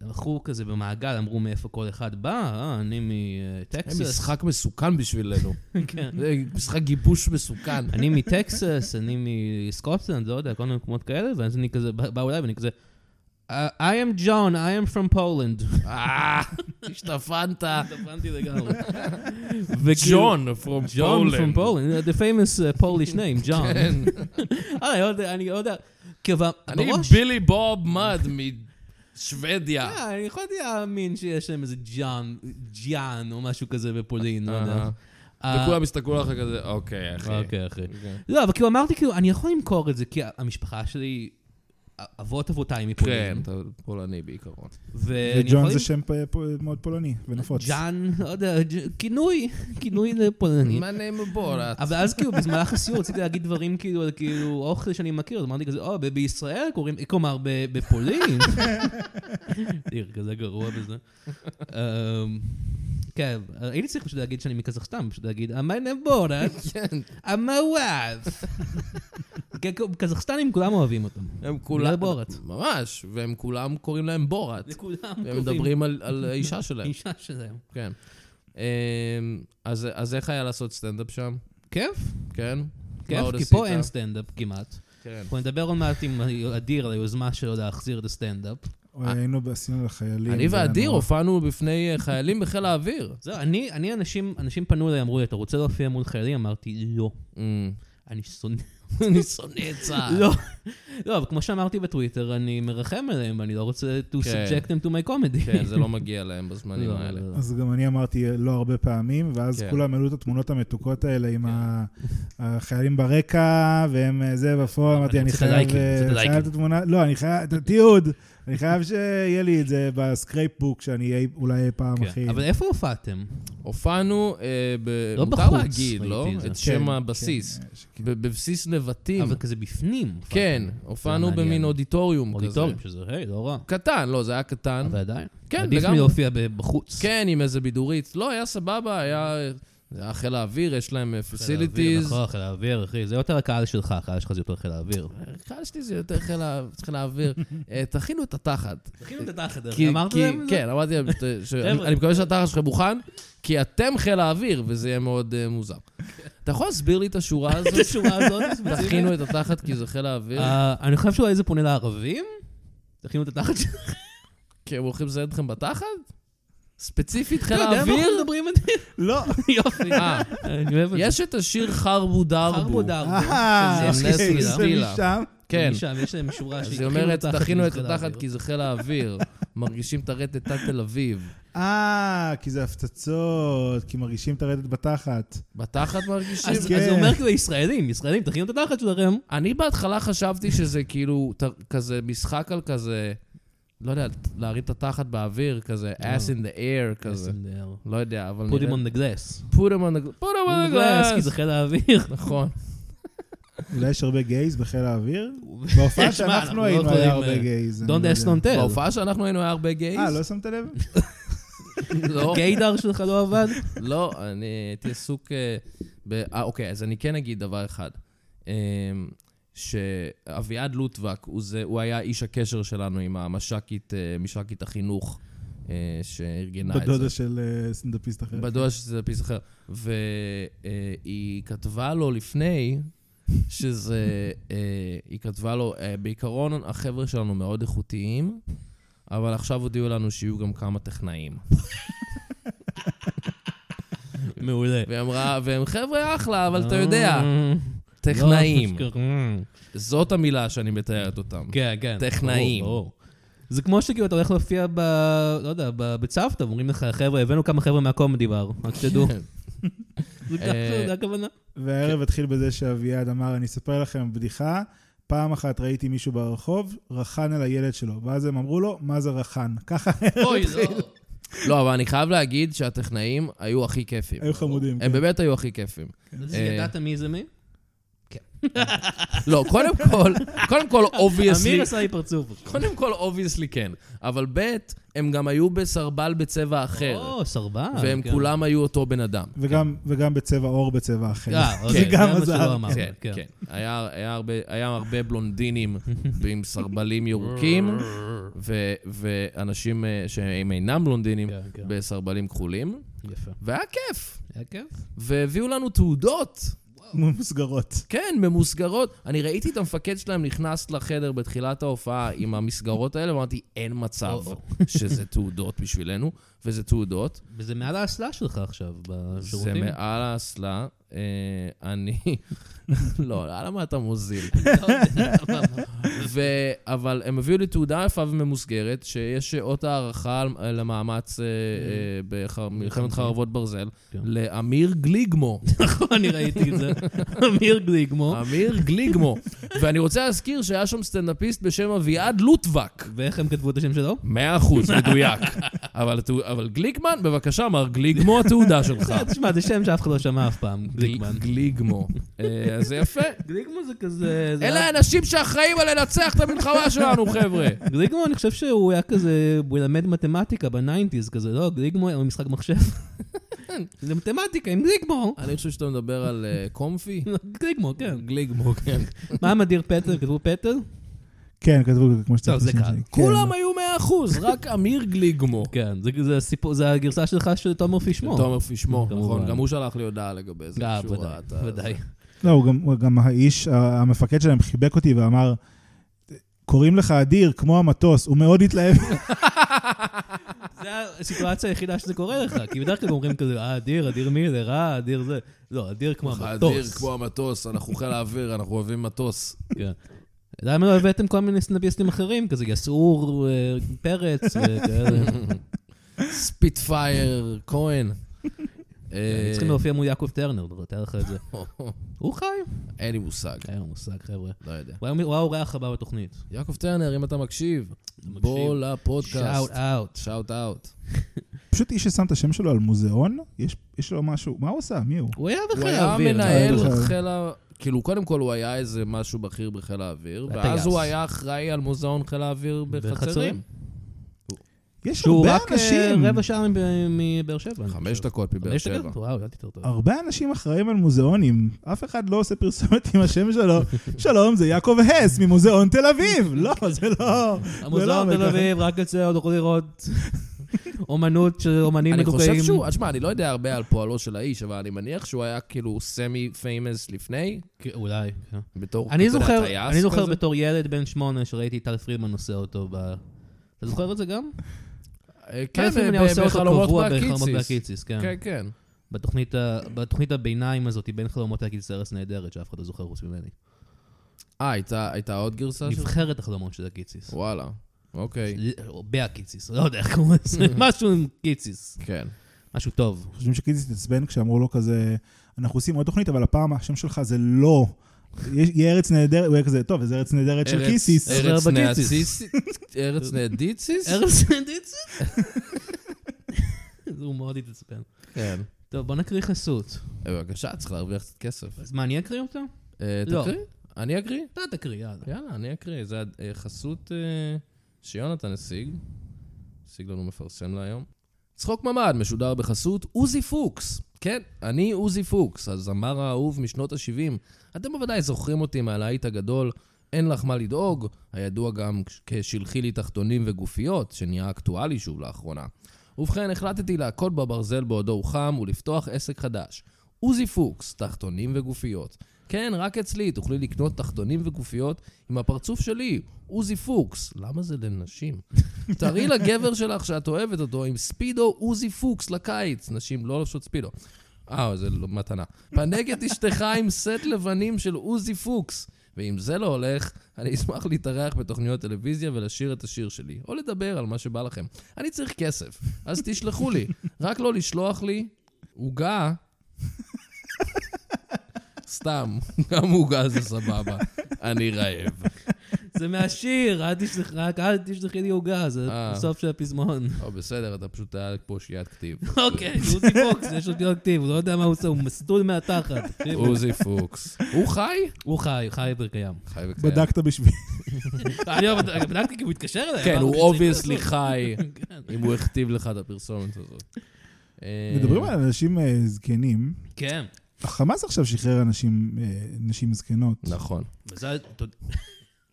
Speaker 2: הלכו כזה במעגל, אמרו מאיפה כל אחד בא, אה, אני
Speaker 1: זה
Speaker 2: מטקסס.
Speaker 1: משחק מסוכן בשבילנו. [LAUGHS]
Speaker 2: כן.
Speaker 1: זה משחק גיבוש מסוכן.
Speaker 2: אני מטקסס, אני מסקוטלנד, לא יודע, כל מיני מקומות כאלה, ואז אני כזה, בא בא אליי ואני כזה, I am John, I am from Poland.
Speaker 1: אה, [LAUGHS] השתפנת.
Speaker 2: הבנתי לגמרי. וכאילו-
Speaker 1: ג'ון, פרום
Speaker 2: John
Speaker 1: פולנד.
Speaker 2: from Poland, the famous uh, Polish name, John.
Speaker 1: כן. [LAUGHS]
Speaker 2: אה, עוד- אני עוד... כאילו,
Speaker 1: אני
Speaker 2: בראש...
Speaker 1: בילי בוב מד משוודיה.
Speaker 2: אה, אני יכולתי להאמין שיש להם איזה ג'אן, ג'אן או משהו כזה בפולין, לא יודע.
Speaker 1: אהה.
Speaker 2: אה,
Speaker 1: וכולם הסתכלו עליך כזה, אוקיי, אחי.
Speaker 2: אוקיי, אחי.
Speaker 1: אוקיי.
Speaker 2: לא, אבל כאילו אמרתי, כאילו, אני יכול למכור את זה, כי המשפחה שלי, אבות אבותיי
Speaker 1: כן,
Speaker 2: מפולין.
Speaker 1: אתה פולני בעיקרון.
Speaker 2: ואני אה, יכול
Speaker 3: וג'ון
Speaker 2: למכור...
Speaker 3: זה שם פ- פ- מאוד פולני ונפוץ.
Speaker 2: ג'אן, לא יודע, ג'- כינוי, [LAUGHS] כינוי לפולנית.
Speaker 1: מה נעים בורת?
Speaker 2: אבל אז כאילו, במהלך הסיור רציתי להגיד דברים כאילו, על כאילו, אוכל שאני מכיר, אז אמרתי כזה, או, ב- בישראל קוראים, כלומר, ב- בפולין. עיר כזה גרוע בזה. אמ, כן, הייתי צריך פשוט להגיד שאני מקזחסטן, פשוט להגיד, אמנבורת,
Speaker 1: כן,
Speaker 2: אמוואף. כן, כאילו, קזחסטנים כולם אוהבים אותם.
Speaker 1: הם כולם...
Speaker 2: בגלל לא בורת.
Speaker 1: ממש, והם כולם קוראים להם בורת.
Speaker 2: לכולם
Speaker 1: הם
Speaker 2: קוראים.
Speaker 1: מדברים על- על האישה שלהם,
Speaker 2: אישה שלהם.
Speaker 1: כן. אמ, אז אז איך היה לעשות סטנדאפ שם?
Speaker 2: כיף,
Speaker 1: כן? מה
Speaker 2: כיף,
Speaker 1: עוד
Speaker 2: כי פה
Speaker 1: עשית?
Speaker 2: אין סטנדאפ כמעט.
Speaker 1: כן.
Speaker 2: אנחנו נדבר עוד מעט עם אדיר על היוזמה שלו להחזיר את הסטנדאפ.
Speaker 3: אוי, אה, היינו, ב- עשינו לחיילים.
Speaker 1: אני
Speaker 3: זה היה
Speaker 1: ואדיר
Speaker 3: נורא.
Speaker 1: הופענו בפני אה, חיילים בחיל
Speaker 2: [LAUGHS]
Speaker 1: האוויר.
Speaker 2: זהו, אני, אני אנשים, אנשים פנו אליי, אמרו לי, אתה רוצה להופיע מול חיילים? אמרתי, לא.
Speaker 1: אמ.
Speaker 2: אני שונא. [LAUGHS]
Speaker 1: אני שונא את צה"ל.
Speaker 2: לא. לא, אבל כמו שאמרתי בטוויטר, אני מרחם עליהם, ואני לא רוצה to
Speaker 1: כן.
Speaker 2: subject them to my comedy.
Speaker 1: כן,
Speaker 2: [LAUGHS]
Speaker 1: זה לא מגיע להם בזמנים
Speaker 2: לא,
Speaker 1: האלה.
Speaker 2: לא, לא.
Speaker 3: אז גם אני אמרתי לא הרבה פעמים, ואז
Speaker 1: כן.
Speaker 3: כולם העלו את התמונות המתוקות האלה
Speaker 2: כן.
Speaker 3: עם ה- החיילים ברקע, והם אה, זה בפועל,
Speaker 2: אני
Speaker 3: אמרתי, אני
Speaker 2: רוצה את
Speaker 3: חייב
Speaker 2: הלייקים,
Speaker 3: אה,
Speaker 2: רוצה את
Speaker 3: חייב את
Speaker 2: הלייקים."
Speaker 3: התמונה, לא, אני חייב, את התיעוד, אני חייב שיהיה לי את זה בסקרייפבוק, שאני אהיה אולי אי פעם
Speaker 2: כן.
Speaker 3: הכי...
Speaker 2: אבל איפה הופעתם?
Speaker 1: הופענו, אה, ב-
Speaker 2: לא
Speaker 1: מותר
Speaker 2: בחוץ,
Speaker 1: להגיד, לא?
Speaker 2: ראיתי את זה.
Speaker 1: את
Speaker 3: כן,
Speaker 1: שם
Speaker 3: כן,
Speaker 1: הבסיס.
Speaker 3: אה, שכאילו-
Speaker 1: ב- בבסיס נבטים.
Speaker 2: אבל כזה בפנים.
Speaker 1: כן,
Speaker 2: הופעתם.
Speaker 1: הופענו
Speaker 2: אה, אוקיי. זה מעניין.
Speaker 1: במין אודיטוריום כזה.
Speaker 2: אודיטוריום, שזה, היי, לא רע.
Speaker 1: קטן, לא, זה היה קטן.
Speaker 2: אבל עדיין.
Speaker 1: כן,
Speaker 2: עדיף
Speaker 1: לגמרי.
Speaker 2: מלהופיע ב- בחוץ.
Speaker 1: כן, עם איזה בידורית. לא, היה סבבה, היה... זה היה חיל האוויר, יש להם אה,
Speaker 2: חיל האוויר,
Speaker 1: פסיליטיז.
Speaker 2: נכון, חיל האוויר, אחי. זה יותר הקהל שלך, הקהל שלך זה יותר חיל האוויר.
Speaker 1: קהל שלי זה יותר חיל ה- חיל האוויר. אה, תכינו את התחת.
Speaker 2: תכינו את התחת,
Speaker 1: כי-
Speaker 2: אמרת
Speaker 1: כי-
Speaker 2: להם את זה?
Speaker 1: כן, אמרתי להם, שת- ש-
Speaker 2: חבר'ה.
Speaker 1: אני מקווה שהתחת שלכם מוכן, כי אתם חיל האוויר, וזה יהיה מאוד אה, מוזר. אתה יכול להסביר לי את השורה
Speaker 2: [LAUGHS] את
Speaker 1: הזאת?
Speaker 2: השורה הזאת הספציפית?
Speaker 1: תכינו את התחת כי זה חיל האוויר,
Speaker 2: אה, אני חושב שאולי זה פונה לערבים? תכינו את התחת של
Speaker 1: כי הם הולכים לזיין אתכם בתחת? ספציפית חיל
Speaker 2: אתה לא יודע מה
Speaker 1: האוויר?
Speaker 2: אנחנו מדברים על
Speaker 1: [LAUGHS]
Speaker 2: זה? [LAUGHS]
Speaker 3: לא.
Speaker 2: יופי.
Speaker 1: אה,
Speaker 2: אני אוהב את זה.
Speaker 1: יש את השיר חרבו דרבו.
Speaker 2: [LAUGHS] חרבו דרבו.
Speaker 3: אה,
Speaker 1: שזה
Speaker 3: אוקיי,
Speaker 1: נסטילה.
Speaker 3: זה
Speaker 1: נסטילה.
Speaker 3: משם.
Speaker 1: כן.
Speaker 2: משם, יש להם שורה
Speaker 1: אז
Speaker 2: שהיא כאילו
Speaker 1: היא אומרת, תכינו את
Speaker 2: חיל
Speaker 1: התחת
Speaker 2: האוויר".
Speaker 1: כי זה חיל
Speaker 2: [LAUGHS]
Speaker 1: האוויר. מרגישים את הרטט תת תל אביב.
Speaker 3: אה, כי זה הפצצות, כי מרגישים את הרדת בתחת.
Speaker 1: בתחת מרגישים?
Speaker 2: אז אז
Speaker 3: כן.
Speaker 2: זה אומר כאילו ישראלים, ישראלים, תכינו את התחת שלכם.
Speaker 1: אני בהתחלה חשבתי שזה כאילו ת- כזה משחק על כזה, לא יודע, להרים את התחת באוויר, כזה ass in the air כזה. לא יודע, אבל
Speaker 2: לא. put him on the glass.
Speaker 1: put him on the glass. put him
Speaker 2: put him
Speaker 1: on the
Speaker 2: on the glass, כי זה
Speaker 1: glass.
Speaker 2: חיל האוויר.
Speaker 1: נכון.
Speaker 3: אולי יש הרבה גייז בחיל
Speaker 2: [LAUGHS]
Speaker 3: האוויר? בהופעה
Speaker 2: שמע, אנחנו
Speaker 3: שאנחנו
Speaker 2: לא
Speaker 3: היינו
Speaker 2: יכולים,
Speaker 3: היה
Speaker 2: אה,
Speaker 3: הרבה גייז. אני
Speaker 2: Don't
Speaker 3: לא
Speaker 2: ask
Speaker 3: יודע.
Speaker 2: don't tell.
Speaker 1: בהופעה שאנחנו היינו היה הרבה גייז.
Speaker 3: אה, לא שמת
Speaker 2: [LAUGHS]
Speaker 3: לב?
Speaker 1: לא,
Speaker 2: גיידר שלך לא עבד?
Speaker 1: [LAUGHS] לא, אני הייתי עסוק... אה, ב- אה, אוקיי, אז אני כן אגיד דבר אחד. אה, שאביעד לוטבק, הוא זה- הוא היה איש הקשר שלנו עם המש"קית, אה, מש"קית החינוך אה, שארגנה את זה.
Speaker 3: בדודה של אה, סטנדאפיסט אחר.
Speaker 1: בדודה שזה פיס אחר. והיא כתבה לו לפני, שזה... אה, היא כתבה לו, אה, בעיקרון החבר'ה שלנו מאוד איכותיים, אבל עכשיו הודיעו לנו שיהיו גם כמה טכנאים.
Speaker 2: מעולה. אה,
Speaker 1: והיא אמרה, והם חבר'ה אחלה, אבל אתה יודע, טכנאים.
Speaker 2: לא, אה,
Speaker 1: זאת המילה שאני מתארת אותם.
Speaker 2: כן, כן.
Speaker 1: טכנאים.
Speaker 2: ברור, ברור. זה כמו שכאילו אתה הולך להופיע ב... לא יודע, ב- בצוותא, ואומרים לך, חבר'ה, הבאנו כמה חבר'ה מהקומדי בר, רק
Speaker 1: [LAUGHS]
Speaker 2: שתדעו. אה,
Speaker 1: כן.
Speaker 2: זה ככה, זה הכוונה. כן.
Speaker 3: והערב התחיל בזה שאביעד אמר, אני אספר לכם בדיחה. פעם אחת ראיתי מישהו ברחוב, רחן על הילד שלו, ואז הם אמרו לו, מה זה רחן? [LAUGHS] ככה,
Speaker 2: אוי, לא.
Speaker 1: לא, אבל אני חייב להגיד שהטכנאים היו הכי כיפים.
Speaker 3: היו חמודים.
Speaker 1: הם
Speaker 3: כן.
Speaker 1: באמת היו הכי כיפים.
Speaker 2: אז ידעת מי זה מי?
Speaker 1: לא,
Speaker 2: [LAUGHS]
Speaker 1: קודם כל, קודם כל,
Speaker 2: אמיר
Speaker 1: אובייסלי,
Speaker 2: עשה לי פרצוף.
Speaker 1: קודם כל, אובייסלי כן. אבל ב', הם גם היו בסרבל בצבע אחר.
Speaker 2: או, סרבן.
Speaker 1: והם
Speaker 2: כן.
Speaker 1: כולם היו אותו בן אדם.
Speaker 3: וגם- וגם בצבע עור, בצבע אחר. [LAUGHS]
Speaker 2: אה,
Speaker 1: זה
Speaker 2: אוקיי, זה
Speaker 3: גם
Speaker 2: מה
Speaker 3: עזר.
Speaker 2: שלא אמרת.
Speaker 1: כן,
Speaker 2: כן.
Speaker 1: כן. היה היה הרבה- היה הרבה בלונדינים עם סרבלים ירוקים, ו- ואנשים אה, שהם אינם בלונדינים
Speaker 2: כן, כן.
Speaker 1: בסרבלים כחולים,
Speaker 2: יפה.
Speaker 1: והיה כיף.
Speaker 2: היה כיף?
Speaker 1: והביאו לנו תעודות.
Speaker 3: ממוסגרות.
Speaker 1: כן, במוסגרות. אני ראיתי את המפקד שלהם נכנס לחדר בתחילת ההופעה עם המסגרות האלה, ואמרתי, אין מצב
Speaker 2: או-או.
Speaker 1: [LAUGHS] שזה תעודות בשבילנו, וזה תעודות.
Speaker 2: וזה מעל האסלה שלך עכשיו,
Speaker 1: זה
Speaker 2: בשירותים.
Speaker 1: מעל האסלה. אה, אני... [LAUGHS] לא, למה אתה מוזיל?
Speaker 2: לא יודע, מה, מה.
Speaker 1: ו... אבל הם הביאו לי תעודה יפה וממוסגרת, שיש אות הערכה על- למאמץ אה, אה, במלחמת חרבות ברזל,
Speaker 2: כן.
Speaker 1: לאמיר גליגמו.
Speaker 2: נכון, אני ראיתי את זה. אמיר גליגמו.
Speaker 1: אמיר גליגמו. ואני רוצה להזכיר שהיה שם סטנדאפיסט בשם אביעד לוטבק.
Speaker 2: ואיך הם כתבו את השם שלו?
Speaker 1: מאה אחוז, מדויק. אבל, התעו- אבל גליקמן, בבקשה, מר גליגמו, התעודה שלך.
Speaker 2: תשמע, זה שם שאף אחד לא שמע אף פעם, גליגמן.
Speaker 1: גל- גליגמו. אה, אז זה יפה.
Speaker 2: גליגמו זה כזה... זה
Speaker 1: אלה האנשים שאחראים על לנצח את המלחמה שלנו, חבר'ה.
Speaker 2: גליגמו, אני חושב שהוא היה כזה, הוא ילמד מתמטיקה בניינטיז כזה, לא, גליגמו היה משחק מחשב. זה מתמטיקה עם גליגמו.
Speaker 1: אני חושב שאתה מדבר על אה, קומפי.
Speaker 2: גליגמו, כן.
Speaker 1: גליגמו, כן.
Speaker 2: מה מדיר פטל? כתבו פטל?
Speaker 3: כן, כתבו כמו שצריך.
Speaker 2: טוב, זה
Speaker 3: לשם
Speaker 2: קל.
Speaker 3: שלי. כן,
Speaker 1: כולם
Speaker 3: לא.
Speaker 1: היו מאה אחוז, רק אמיר גליגמו.
Speaker 2: כן, זה- זה הסיפור- זה הגרסה שלך של תומר פישמור.
Speaker 1: תומר פישמור,
Speaker 2: כמובן.
Speaker 1: נכון. גם הוא שלח לי הודעה לגבי זה.
Speaker 2: אה,
Speaker 1: כשהוא
Speaker 2: ודאי,
Speaker 1: ראה את ה-
Speaker 2: ודאי.
Speaker 3: לא, הוא גם- הוא גם האיש, ה- המפקד שלהם חיבק אותי ואמר, קוראים לך אדיר, כמו המטוס, הוא מאוד התלהב. [LAUGHS]
Speaker 2: זה הסיטואציה היחידה שזה קורה לך, כי בדרך כלל אומרים כזה, אה, אדיר, אדיר מילר, אה, אדיר זה. לא, אדיר כמו
Speaker 1: אדיר
Speaker 2: המטוס.
Speaker 1: כמו המטוס, אנחנו חיל האוויר, אנחנו אוהבים מטוס.
Speaker 2: כן. למה לא הבאתם כל מיני סטנדאפיסטים אחרים, כזה יסעור, אה, פרץ
Speaker 1: [LAUGHS]
Speaker 2: וכאלה?
Speaker 1: ספיטפייר
Speaker 2: [LAUGHS]
Speaker 1: כהן. אה,
Speaker 2: צריכים להופיע מול יעקב טרנר, תאר לך את זה. הוא חי.
Speaker 1: [LAUGHS] אין לי מושג,
Speaker 2: אין לו מושג, חבר'ה.
Speaker 1: לא יודע.
Speaker 2: הוא היה- הוא האורח הבא בתוכנית.
Speaker 1: יעקב טרנר, אם אתה מקשיב,
Speaker 2: מקשיב.
Speaker 1: בוא
Speaker 2: שאוט
Speaker 1: לפודקאסט.
Speaker 2: אאוט.
Speaker 1: שאוט אאוט.
Speaker 3: פשוט איש ששם את השם שלו על מוזיאון, יש- יש לו משהו, מה הוא עשה? מי הוא?
Speaker 2: הוא היה
Speaker 1: הוא
Speaker 2: בחיל
Speaker 1: היה
Speaker 2: האוויר.
Speaker 1: מנהל
Speaker 3: אה, בכלל.
Speaker 1: חיל ה... כאילו, קודם כל הוא היה איזה משהו בכיר בחיל האוויר,
Speaker 2: היה
Speaker 1: ואז
Speaker 2: טייס.
Speaker 1: הוא היה אחראי על מוזיאון חיל האוויר בחצרים.
Speaker 3: יש
Speaker 2: שהוא
Speaker 3: הרבה
Speaker 2: רק אה,
Speaker 3: אנשים,
Speaker 2: רבע שעה מב- מבאר שבע. אני
Speaker 1: חמש
Speaker 2: חושב.
Speaker 1: דקות מבאר
Speaker 2: חמש
Speaker 1: שבע. אה,
Speaker 2: דקות? וואו, ידעתי יותר טוב.
Speaker 3: הרבה אנשים אחראים על מוזיאונים. אף אחד לא עושה פרסומת עם השם שלו. שלום, זה יעקב הס ממוזיאון תל אביב. לא, זה לא...
Speaker 2: המוזיאון
Speaker 3: זה
Speaker 2: תל
Speaker 3: לא עובד
Speaker 2: אביב, רק אצלנו תוכלו
Speaker 1: [LAUGHS]
Speaker 2: לראות אומנות של אומנים
Speaker 1: אני
Speaker 2: מדוכאים.
Speaker 1: חושב שהוא, תשמע, אני לא יודע הרבה על פועלו של האיש, אבל אני מניח שהוא היה כאילו סמי פיימס לפני,
Speaker 2: כן, אולי. כן.
Speaker 1: בתור,
Speaker 2: אני
Speaker 1: אתה יודע,
Speaker 2: זוכר,
Speaker 1: טייס
Speaker 2: אני זוכר
Speaker 1: כזה.
Speaker 2: בתור ילד בן שמונה שראיתי טל פרידמן עושה אותו ב... אתה זוכר את זה גם?
Speaker 1: אה, כן,
Speaker 2: טל פרידמן
Speaker 1: ב-
Speaker 2: היה עושה אותו
Speaker 1: בחלומות
Speaker 2: קבוע בחלומות
Speaker 1: בהקיציס.
Speaker 2: והקיציס, כן.
Speaker 1: כן, כן.
Speaker 2: בתוכנית ה- בתוכנית הביניים הזאת, בין חלומות להקיציס ארץ נהדרת, שאף אחד לא זוכר חוץ ממני.
Speaker 1: אה, הייתה- הייתה עוד גרסה שלו?
Speaker 2: נבחרת החלומות של הקיציס.
Speaker 1: וואלה, אוקיי.
Speaker 2: או בהקיציס, לא יודע איך קוראים
Speaker 1: [LAUGHS]
Speaker 2: לזה, משהו עם קיציס.
Speaker 1: כן.
Speaker 2: משהו טוב.
Speaker 1: [LAUGHS]
Speaker 3: חושבים שקיזי התעצבן כשאמרו לו כזה, אנחנו עושים עוד תוכנית, אבל הפעם השם שלך זה לא. יש- יהיה ארץ נהדרת, הוא יהיה כזה, טוב, זה ארץ נהדרת של
Speaker 1: ארץ-
Speaker 3: קיסיס.
Speaker 1: ארץ
Speaker 2: חבר בקיציס.
Speaker 1: נאציסית? ארץ נאדיציס?
Speaker 2: ארץ נהדרת? [LAUGHS] הוא מאוד התעצבן.
Speaker 1: כן. אה,
Speaker 2: טוב, בוא נקריא חסות.
Speaker 1: בבקשה, צריך להרוויח קצת כסף.
Speaker 2: אז מה, אני אקריא אותה?
Speaker 1: אה,
Speaker 2: לא.
Speaker 1: תקריא? אני אקריא?
Speaker 2: אתה תקריא, יאללה.
Speaker 1: יאללה, אני אקריא. זה אה, חסות אה, שיונתן השיג. השיג לנו מפרסם להיום. צחוק ממ"ד משודר בחסות עוזי פוקס. כן, אני עוזי פוקס, הזמר האהוב משנות ה-70. אתם בוודאי זוכרים אותי מהלהיט הגדול "אין לך מה לדאוג", הידוע גם כש- כשלחי לי תחתונים וגופיות, שנהיה אקטואלי שוב לאחרונה. ובכן, החלטתי להכות בברזל בעודו הוא חם ולפתוח עסק חדש. עוזי פוקס, תחתונים וגופיות. כן, רק אצלי תוכלי לקנות תחתונים וגופיות עם הפרצוף שלי, עוזי פוקס. למה זה לנשים? תראי לגבר שלך שאת אוהבת אותו עם ספידו עוזי פוקס לקיץ. נשים לא לובשות ספידו. אה, זה לא- מתנה. פנק את אשתך עם סט לבנים של עוזי פוקס. ואם זה לא הולך, אני אשמח להתארח בתוכניות טלוויזיה ולשיר את השיר שלי, או לדבר על מה שבא לכם. אני צריך כסף, אז תשלחו לי. רק לא לשלוח לי עוגה. סתם, גם עוגה זה סבבה. אני רעב.
Speaker 2: זה מהשיר, אל תשלח- רק אל תשלחי לי עוגה, זה
Speaker 1: אה.
Speaker 2: בסוף של הפזמון. [LAUGHS]
Speaker 1: או, בסדר, אתה פשוט היה פה שיעת כתיב.
Speaker 2: אוקיי, עוזי פוקס, יש עוד להיות כתיב, הוא לא יודע מה הוא עושה, הוא מסטול מהתחת. תקשיבו.
Speaker 1: עוזי פוקס. הוא חי?
Speaker 2: הוא חי, חי וקיים.
Speaker 1: חי וקיים.
Speaker 3: בדקת בשביל...
Speaker 2: אני לא בדק- בדקתי כי הוא התקשר אליי.
Speaker 1: כן,
Speaker 2: אמרנו
Speaker 1: הוא
Speaker 2: שצריך
Speaker 1: אובייסלי
Speaker 2: לעשות.
Speaker 1: חי,
Speaker 2: כן.
Speaker 1: אם הוא הכתיב לך את הפרסומת הזאת. אה,
Speaker 3: מדברים על אנשים אה, זקנים.
Speaker 2: כן,
Speaker 3: החמאס עכשיו שחרר אנשים, אה, נשים זקנות.
Speaker 1: נכון.
Speaker 2: מזל, תודה.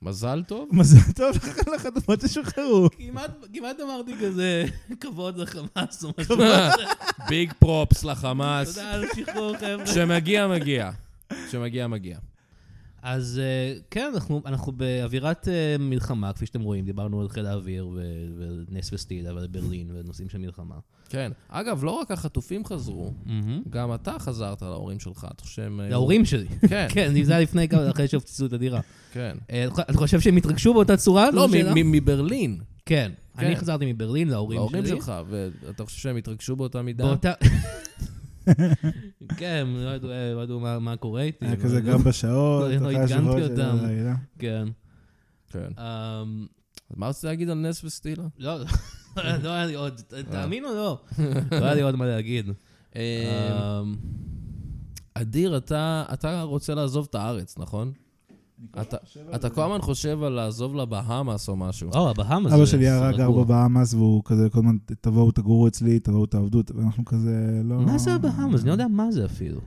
Speaker 1: מזל טוב?
Speaker 2: [LAUGHS]
Speaker 3: מזל טוב לך לחתומות ששוחררו.
Speaker 2: כמעט- כמעט אמרתי כזה, כבוד לחמאס או משהו.
Speaker 1: ביג פרופס לחמאס.
Speaker 2: תודה על השחרור, חבר'ה.
Speaker 1: כשמגיע, מגיע. כשמגיע, מגיע.
Speaker 2: אז אה, כן, אנחנו, אנחנו באווירת אה, מלחמה, כפי שאתם רואים, דיברנו על חיל האוויר ו- ונס וסטילה ועל ברלין ונושאים של מלחמה.
Speaker 1: כן. אגב, לא רק החטופים חזרו, גם אתה חזרת להורים שלך, אתה חושב אה, שהם... היו-
Speaker 2: להורים שלי.
Speaker 1: כן,
Speaker 2: [LAUGHS] כן, זה היה לפני כמה, אחרי שהפציצו את הדירה.
Speaker 1: כן.
Speaker 2: אה, אתה חושב שהם התרגשו באותה צורה?
Speaker 1: לא,
Speaker 2: זו שאלה?
Speaker 1: מ- מ- מברלין,
Speaker 2: כן. אני
Speaker 1: כן.
Speaker 2: חזרתי מברלין להורים
Speaker 1: להורים
Speaker 2: שלי.
Speaker 1: שלך, ואתה חושב שהם התרגשו באותה מידה?
Speaker 2: באותה... [LAUGHS] כן, הם לא ידעו- אה, לא ידעו מה- מה קורה איתי.
Speaker 3: היה
Speaker 2: הם
Speaker 3: כזה
Speaker 2: לא-
Speaker 3: גם בשעות,
Speaker 2: לא
Speaker 3: אחרי
Speaker 2: עדכנתי
Speaker 3: השבועות של
Speaker 2: אותם.
Speaker 3: הלילה.
Speaker 2: [LAUGHS] כן.
Speaker 1: כן.
Speaker 2: אמ,
Speaker 1: אז מה רצית להגיד על נס וסטילה?
Speaker 2: לא, [LAUGHS] לא, לא היה לי עוד,
Speaker 1: אה.
Speaker 2: תאמין או לא? לא היה לי עוד מה להגיד.
Speaker 1: אה,
Speaker 2: אמ,
Speaker 1: אדיר, אתה, אתה רוצה לעזוב את הארץ, נכון? אתה, אתה כל הזמן חושב על לעזוב לבהאמאס או משהו.
Speaker 2: או, הבאהמה זה...
Speaker 3: אבא שלי היה
Speaker 2: סרט
Speaker 3: גר
Speaker 2: גרוע.
Speaker 3: בבאמאס, והוא כזה כל הזמן, תבואו, תגורו אצלי, תבואו, תעבדו, ואנחנו כזה לא...
Speaker 2: מה זה הבאהמה? אני לא יודע מה זה אפילו.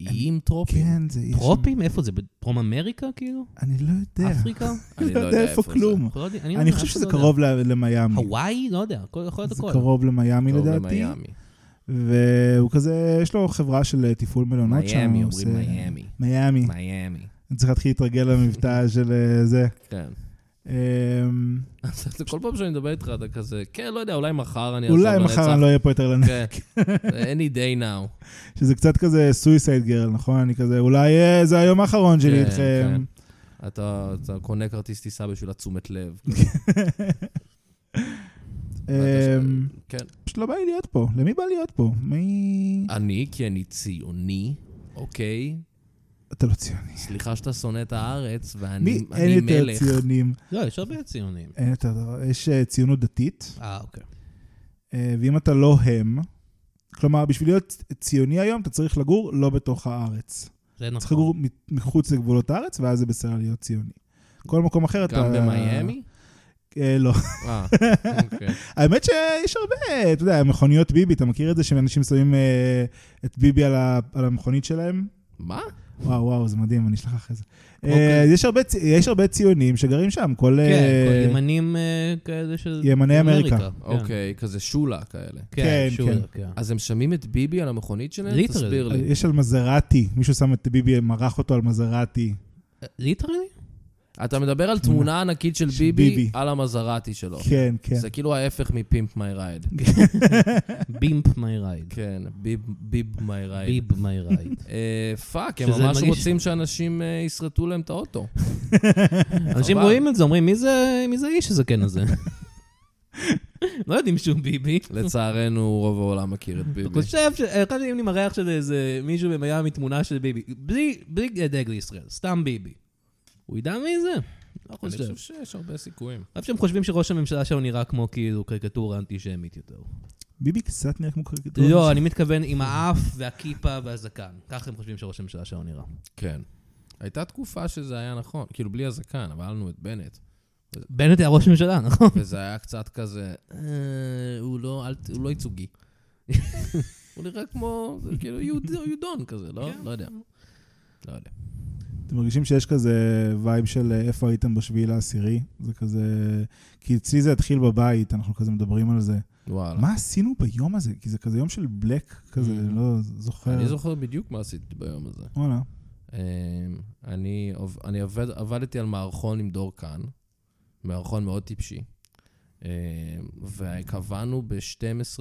Speaker 1: איים טרופים?
Speaker 3: כן, זה איש...
Speaker 2: טרופים? איפה זה? בדרום אמריקה כאילו?
Speaker 3: אני לא יודע. [LAUGHS]
Speaker 2: אפריקה?
Speaker 3: אני לא יודע איפה כלום.
Speaker 2: אנחנו לא יודעים, לא
Speaker 3: אני
Speaker 2: יודע,
Speaker 3: חושב
Speaker 2: אף אחד
Speaker 3: שזה
Speaker 2: לא יודע.
Speaker 3: קרוב ל- למיאמי.
Speaker 2: הוואי? לא יודע, הכל- יכול להיות
Speaker 3: Mm. זה
Speaker 2: הכל.
Speaker 3: קרוב למיאמי
Speaker 1: קרוב
Speaker 3: לדעתי.
Speaker 1: למיאמי.
Speaker 3: והוא כזה, יש לו חברה של אה, תפעול מלונות שם.
Speaker 1: מיאמי,
Speaker 3: הוא
Speaker 1: אומרים
Speaker 3: עושה- אה.
Speaker 1: מיאמי.
Speaker 3: מיאמי.
Speaker 1: מיאמי.
Speaker 3: אני צריך להתחיל להתרגל
Speaker 1: [LAUGHS]
Speaker 3: למבטא של אה, זה.
Speaker 1: כן.
Speaker 3: אמ,
Speaker 1: אז אתה- כל פעם שאני מדבר איתך אתה כזה, כן, לא יודע, אולי מחר אני אעזוב
Speaker 3: אולי מחר אני לא אהיה פה יותר לנצח.
Speaker 1: כן. Any day now.
Speaker 3: [LAUGHS] שזה קצת כזה סויסייד גרל, נכון? אני כזה, אולי אה, זה היום האחרון שלי
Speaker 1: כן,
Speaker 3: איתכם.
Speaker 1: אתה אתה קונה כרטיס טיסה בשביל התשומת לב.
Speaker 3: אמ,
Speaker 1: כן.
Speaker 3: פשוט לא בא לי להיות פה. למי בא להיות פה? מי...
Speaker 1: אני, כי אני ציוני, אוקיי?
Speaker 3: אתה לא ציוני.
Speaker 1: סליחה שאתה שונא את הארץ,
Speaker 3: מי?
Speaker 1: ואני
Speaker 3: אין
Speaker 1: אני
Speaker 3: יותר
Speaker 1: מלך.
Speaker 3: ציונים.
Speaker 2: לא, יש הרבה ציונים.
Speaker 3: אין יותר דבר. יש אה, ציונות דתית,
Speaker 2: אה, אוקיי.
Speaker 3: אה, ואם אתה לא הם, כלומר, בשביל להיות ציוני היום, אתה צריך לגור לא בתוך הארץ.
Speaker 2: זה
Speaker 3: צריך
Speaker 2: נכון.
Speaker 3: לגור מ- מחוץ לגבולות הארץ, ואז זה בסדר להיות ציוני. כל מקום אחר אתה...
Speaker 1: גם במיאמי?
Speaker 3: אה, לא. [LAUGHS]
Speaker 1: אה, אוקיי.
Speaker 3: האמת שיש הרבה, אתה יודע, מכוניות ביבי, אתה מכיר את זה שאנשים שמים אה, את ביבי על ה- על המכונית שלהם?
Speaker 1: מה?
Speaker 2: כן.
Speaker 3: וואו, וואו, זה מדהים, אני אשלח אחרי זה.
Speaker 1: אוקיי.
Speaker 3: אה, יש הרבה צי- יש הרבה ציונים שגרים שם, כל...
Speaker 2: כן,
Speaker 3: אה,
Speaker 2: כל ימנים אה, כאלה של...
Speaker 3: ימני אמריקה.
Speaker 2: כן.
Speaker 1: אוקיי, כזה שולה כאלה.
Speaker 2: כן,
Speaker 3: כן,
Speaker 2: שוב, כן.
Speaker 1: אז הם שמים את ביבי על המכונית שלהם?
Speaker 2: ליטרלי.
Speaker 1: תסביר לי.
Speaker 3: יש על מזרטי, מישהו שם את ביבי, מרח אותו על מזרטי.
Speaker 2: כן. ליטרלי?
Speaker 1: אתה מדבר על תמונה ענקית של
Speaker 3: אה, של
Speaker 1: ביבי
Speaker 3: ביבי.
Speaker 1: על המזרטי שלו.
Speaker 3: כן, כן.
Speaker 1: זה כאילו ההפך מפימפ מי רייד.
Speaker 2: בימפ מי רייד.
Speaker 1: כן, ביב- ביב מי רייד.
Speaker 2: ביב מי רייד.
Speaker 1: אה, פאק, הם
Speaker 2: שזה
Speaker 1: ממש
Speaker 2: מרגיש-
Speaker 1: רוצים שאנשים אה, ישרטו להם את האוטו. [LAUGHS]
Speaker 2: אנשים
Speaker 1: חבל.
Speaker 2: רואים את זה, אומרים, "מי זה- מי זה האיש הזקן
Speaker 3: [LAUGHS]
Speaker 2: הזה? לא יודעים שהוא ביבי.
Speaker 1: לצערנו, רוב העולם מכיר
Speaker 2: [LAUGHS]
Speaker 1: את
Speaker 2: אתה
Speaker 1: ביבי.
Speaker 2: חושב ש... אה, חשבתי אם אני מראה עכשיו איזה מישהו במיאמי תמונה של ביבי. בלי בלי דגל ישראל, סתם ביבי. הוא ידע מי זה? לא
Speaker 1: אני
Speaker 2: חושב.
Speaker 1: חושב שיש הרבה סיכויים.
Speaker 2: אני חושב שהם חושבים שראש הממשלה שלו נראה כמו כאילו קריקטורה אנטישמית יותר.
Speaker 3: ביבי קצת נראה כמו קריקטורה.
Speaker 2: לא, אני מתכוון עם האף והכיפה והזקן. ככה הם חושבים שראש הממשלה שלו נראה.
Speaker 1: כן. הייתה תקופה שזה היה נכון, כאילו בלי הזקן, אבל היה לנו את בנט.
Speaker 2: בנט היה ראש ממשלה, נכון?
Speaker 1: וזה היה קצת כזה, "אה, הוא לא, אל ת- הוא לא ייצוגי. הוא נראה כמו, זה כאילו יהוד- יהודון כזה, לא?
Speaker 2: כן.
Speaker 1: לא יודע. לא יודע.
Speaker 3: אתם מרגישים שיש כזה וייב של אה, איפה הייתם בשביעי לעשירי? זה כזה... כי אצלי זה התחיל בבית, אנחנו כזה מדברים על זה.
Speaker 1: וואלה.
Speaker 3: מה עשינו ביום הזה? כי זה כזה יום של בלק, כזה,
Speaker 1: Mm.
Speaker 3: לא זוכר.
Speaker 1: אני זוכר בדיוק מה עשיתי ביום הזה.
Speaker 3: וואלה.
Speaker 1: אמ, אני, עוב- אני עובד, עבדתי על מערכון עם דור כאן, מערכון מאוד טיפשי, אמ, וקבענו ב-12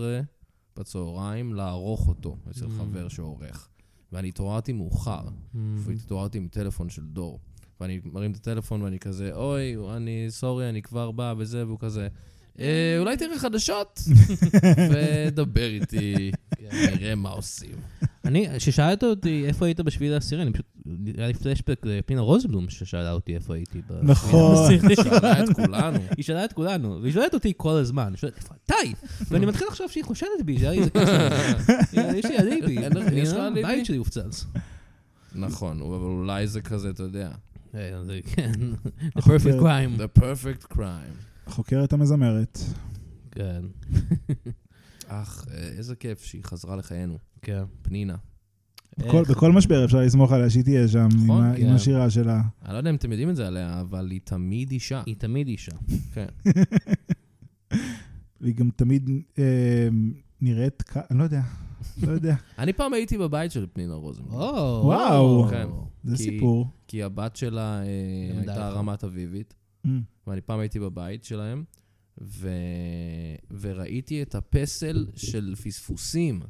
Speaker 1: בצהריים לערוך אותו אצל
Speaker 2: Mm.
Speaker 1: חבר שעורך. ואני התעוררתי מאוחר,
Speaker 2: Hmm.
Speaker 1: והתעוררתי עם טלפון של דור. ואני מרים את הטלפון ואני כזה, אוי, אני סורי, אני כבר בא וזה, והוא כזה, "אה, אולי תראה חדשות, ודבר איתי, נראה מה עושים.
Speaker 2: אני, כששאלת אותי איפה היית בשביל העשירי, אני פשוט, היה לי פלשבק לפנינה רוזנבלום ששאלה אותי איפה הייתי. ב- [LAUGHS]
Speaker 3: נכון.
Speaker 1: שאלה את כולנו.
Speaker 2: היא שאלה את כולנו, והיא שואלת אותי כל הזמן, היא שואלת, איפה אתה? ואני מתחיל לחשוב שהיא חושדת בי, שהיה לי איזה קשר. יש לי אליבי,
Speaker 1: אין לך- יש לך
Speaker 2: אני- לא-
Speaker 1: אליבי?
Speaker 2: הבית שלי הופצץ.
Speaker 1: נכון, אבל אולי זה כזה, אתה יודע.
Speaker 2: אה, זה- כן, the perfect crime.
Speaker 1: The perfect crime.
Speaker 3: החוקרת המזמרת.
Speaker 2: כן,
Speaker 1: אך, אה, איזה כיף שהיא חזרה לחיינו.
Speaker 2: כן.
Speaker 1: פנינה.
Speaker 3: בכל-
Speaker 2: איך-
Speaker 3: בכל משבר אפשר לסמוך עליה שהיא תהיה שם, עם
Speaker 1: אה, נכון,
Speaker 3: ה- עם
Speaker 1: כן.
Speaker 3: השירה שלה.
Speaker 1: אני לא יודע אם אתם יודעים את זה עליה, אבל היא תמיד אישה.
Speaker 2: היא תמיד אישה.
Speaker 1: כן.
Speaker 3: והיא גם תמיד אה, נראית כ... אני לא יודע, לא יודע.
Speaker 1: אני פעם הייתי בבית של פנינה רוזנברג.
Speaker 2: וואו.
Speaker 3: וואו.
Speaker 1: כן.
Speaker 3: זה
Speaker 1: כי-
Speaker 3: סיפור.
Speaker 1: כי הבת שלה אה,
Speaker 2: למדה
Speaker 1: הייתה
Speaker 2: לך.
Speaker 1: רמת אביבית, ואני פעם הייתי בבית שלהם, ו... וראיתי את הפסל של פספוסים.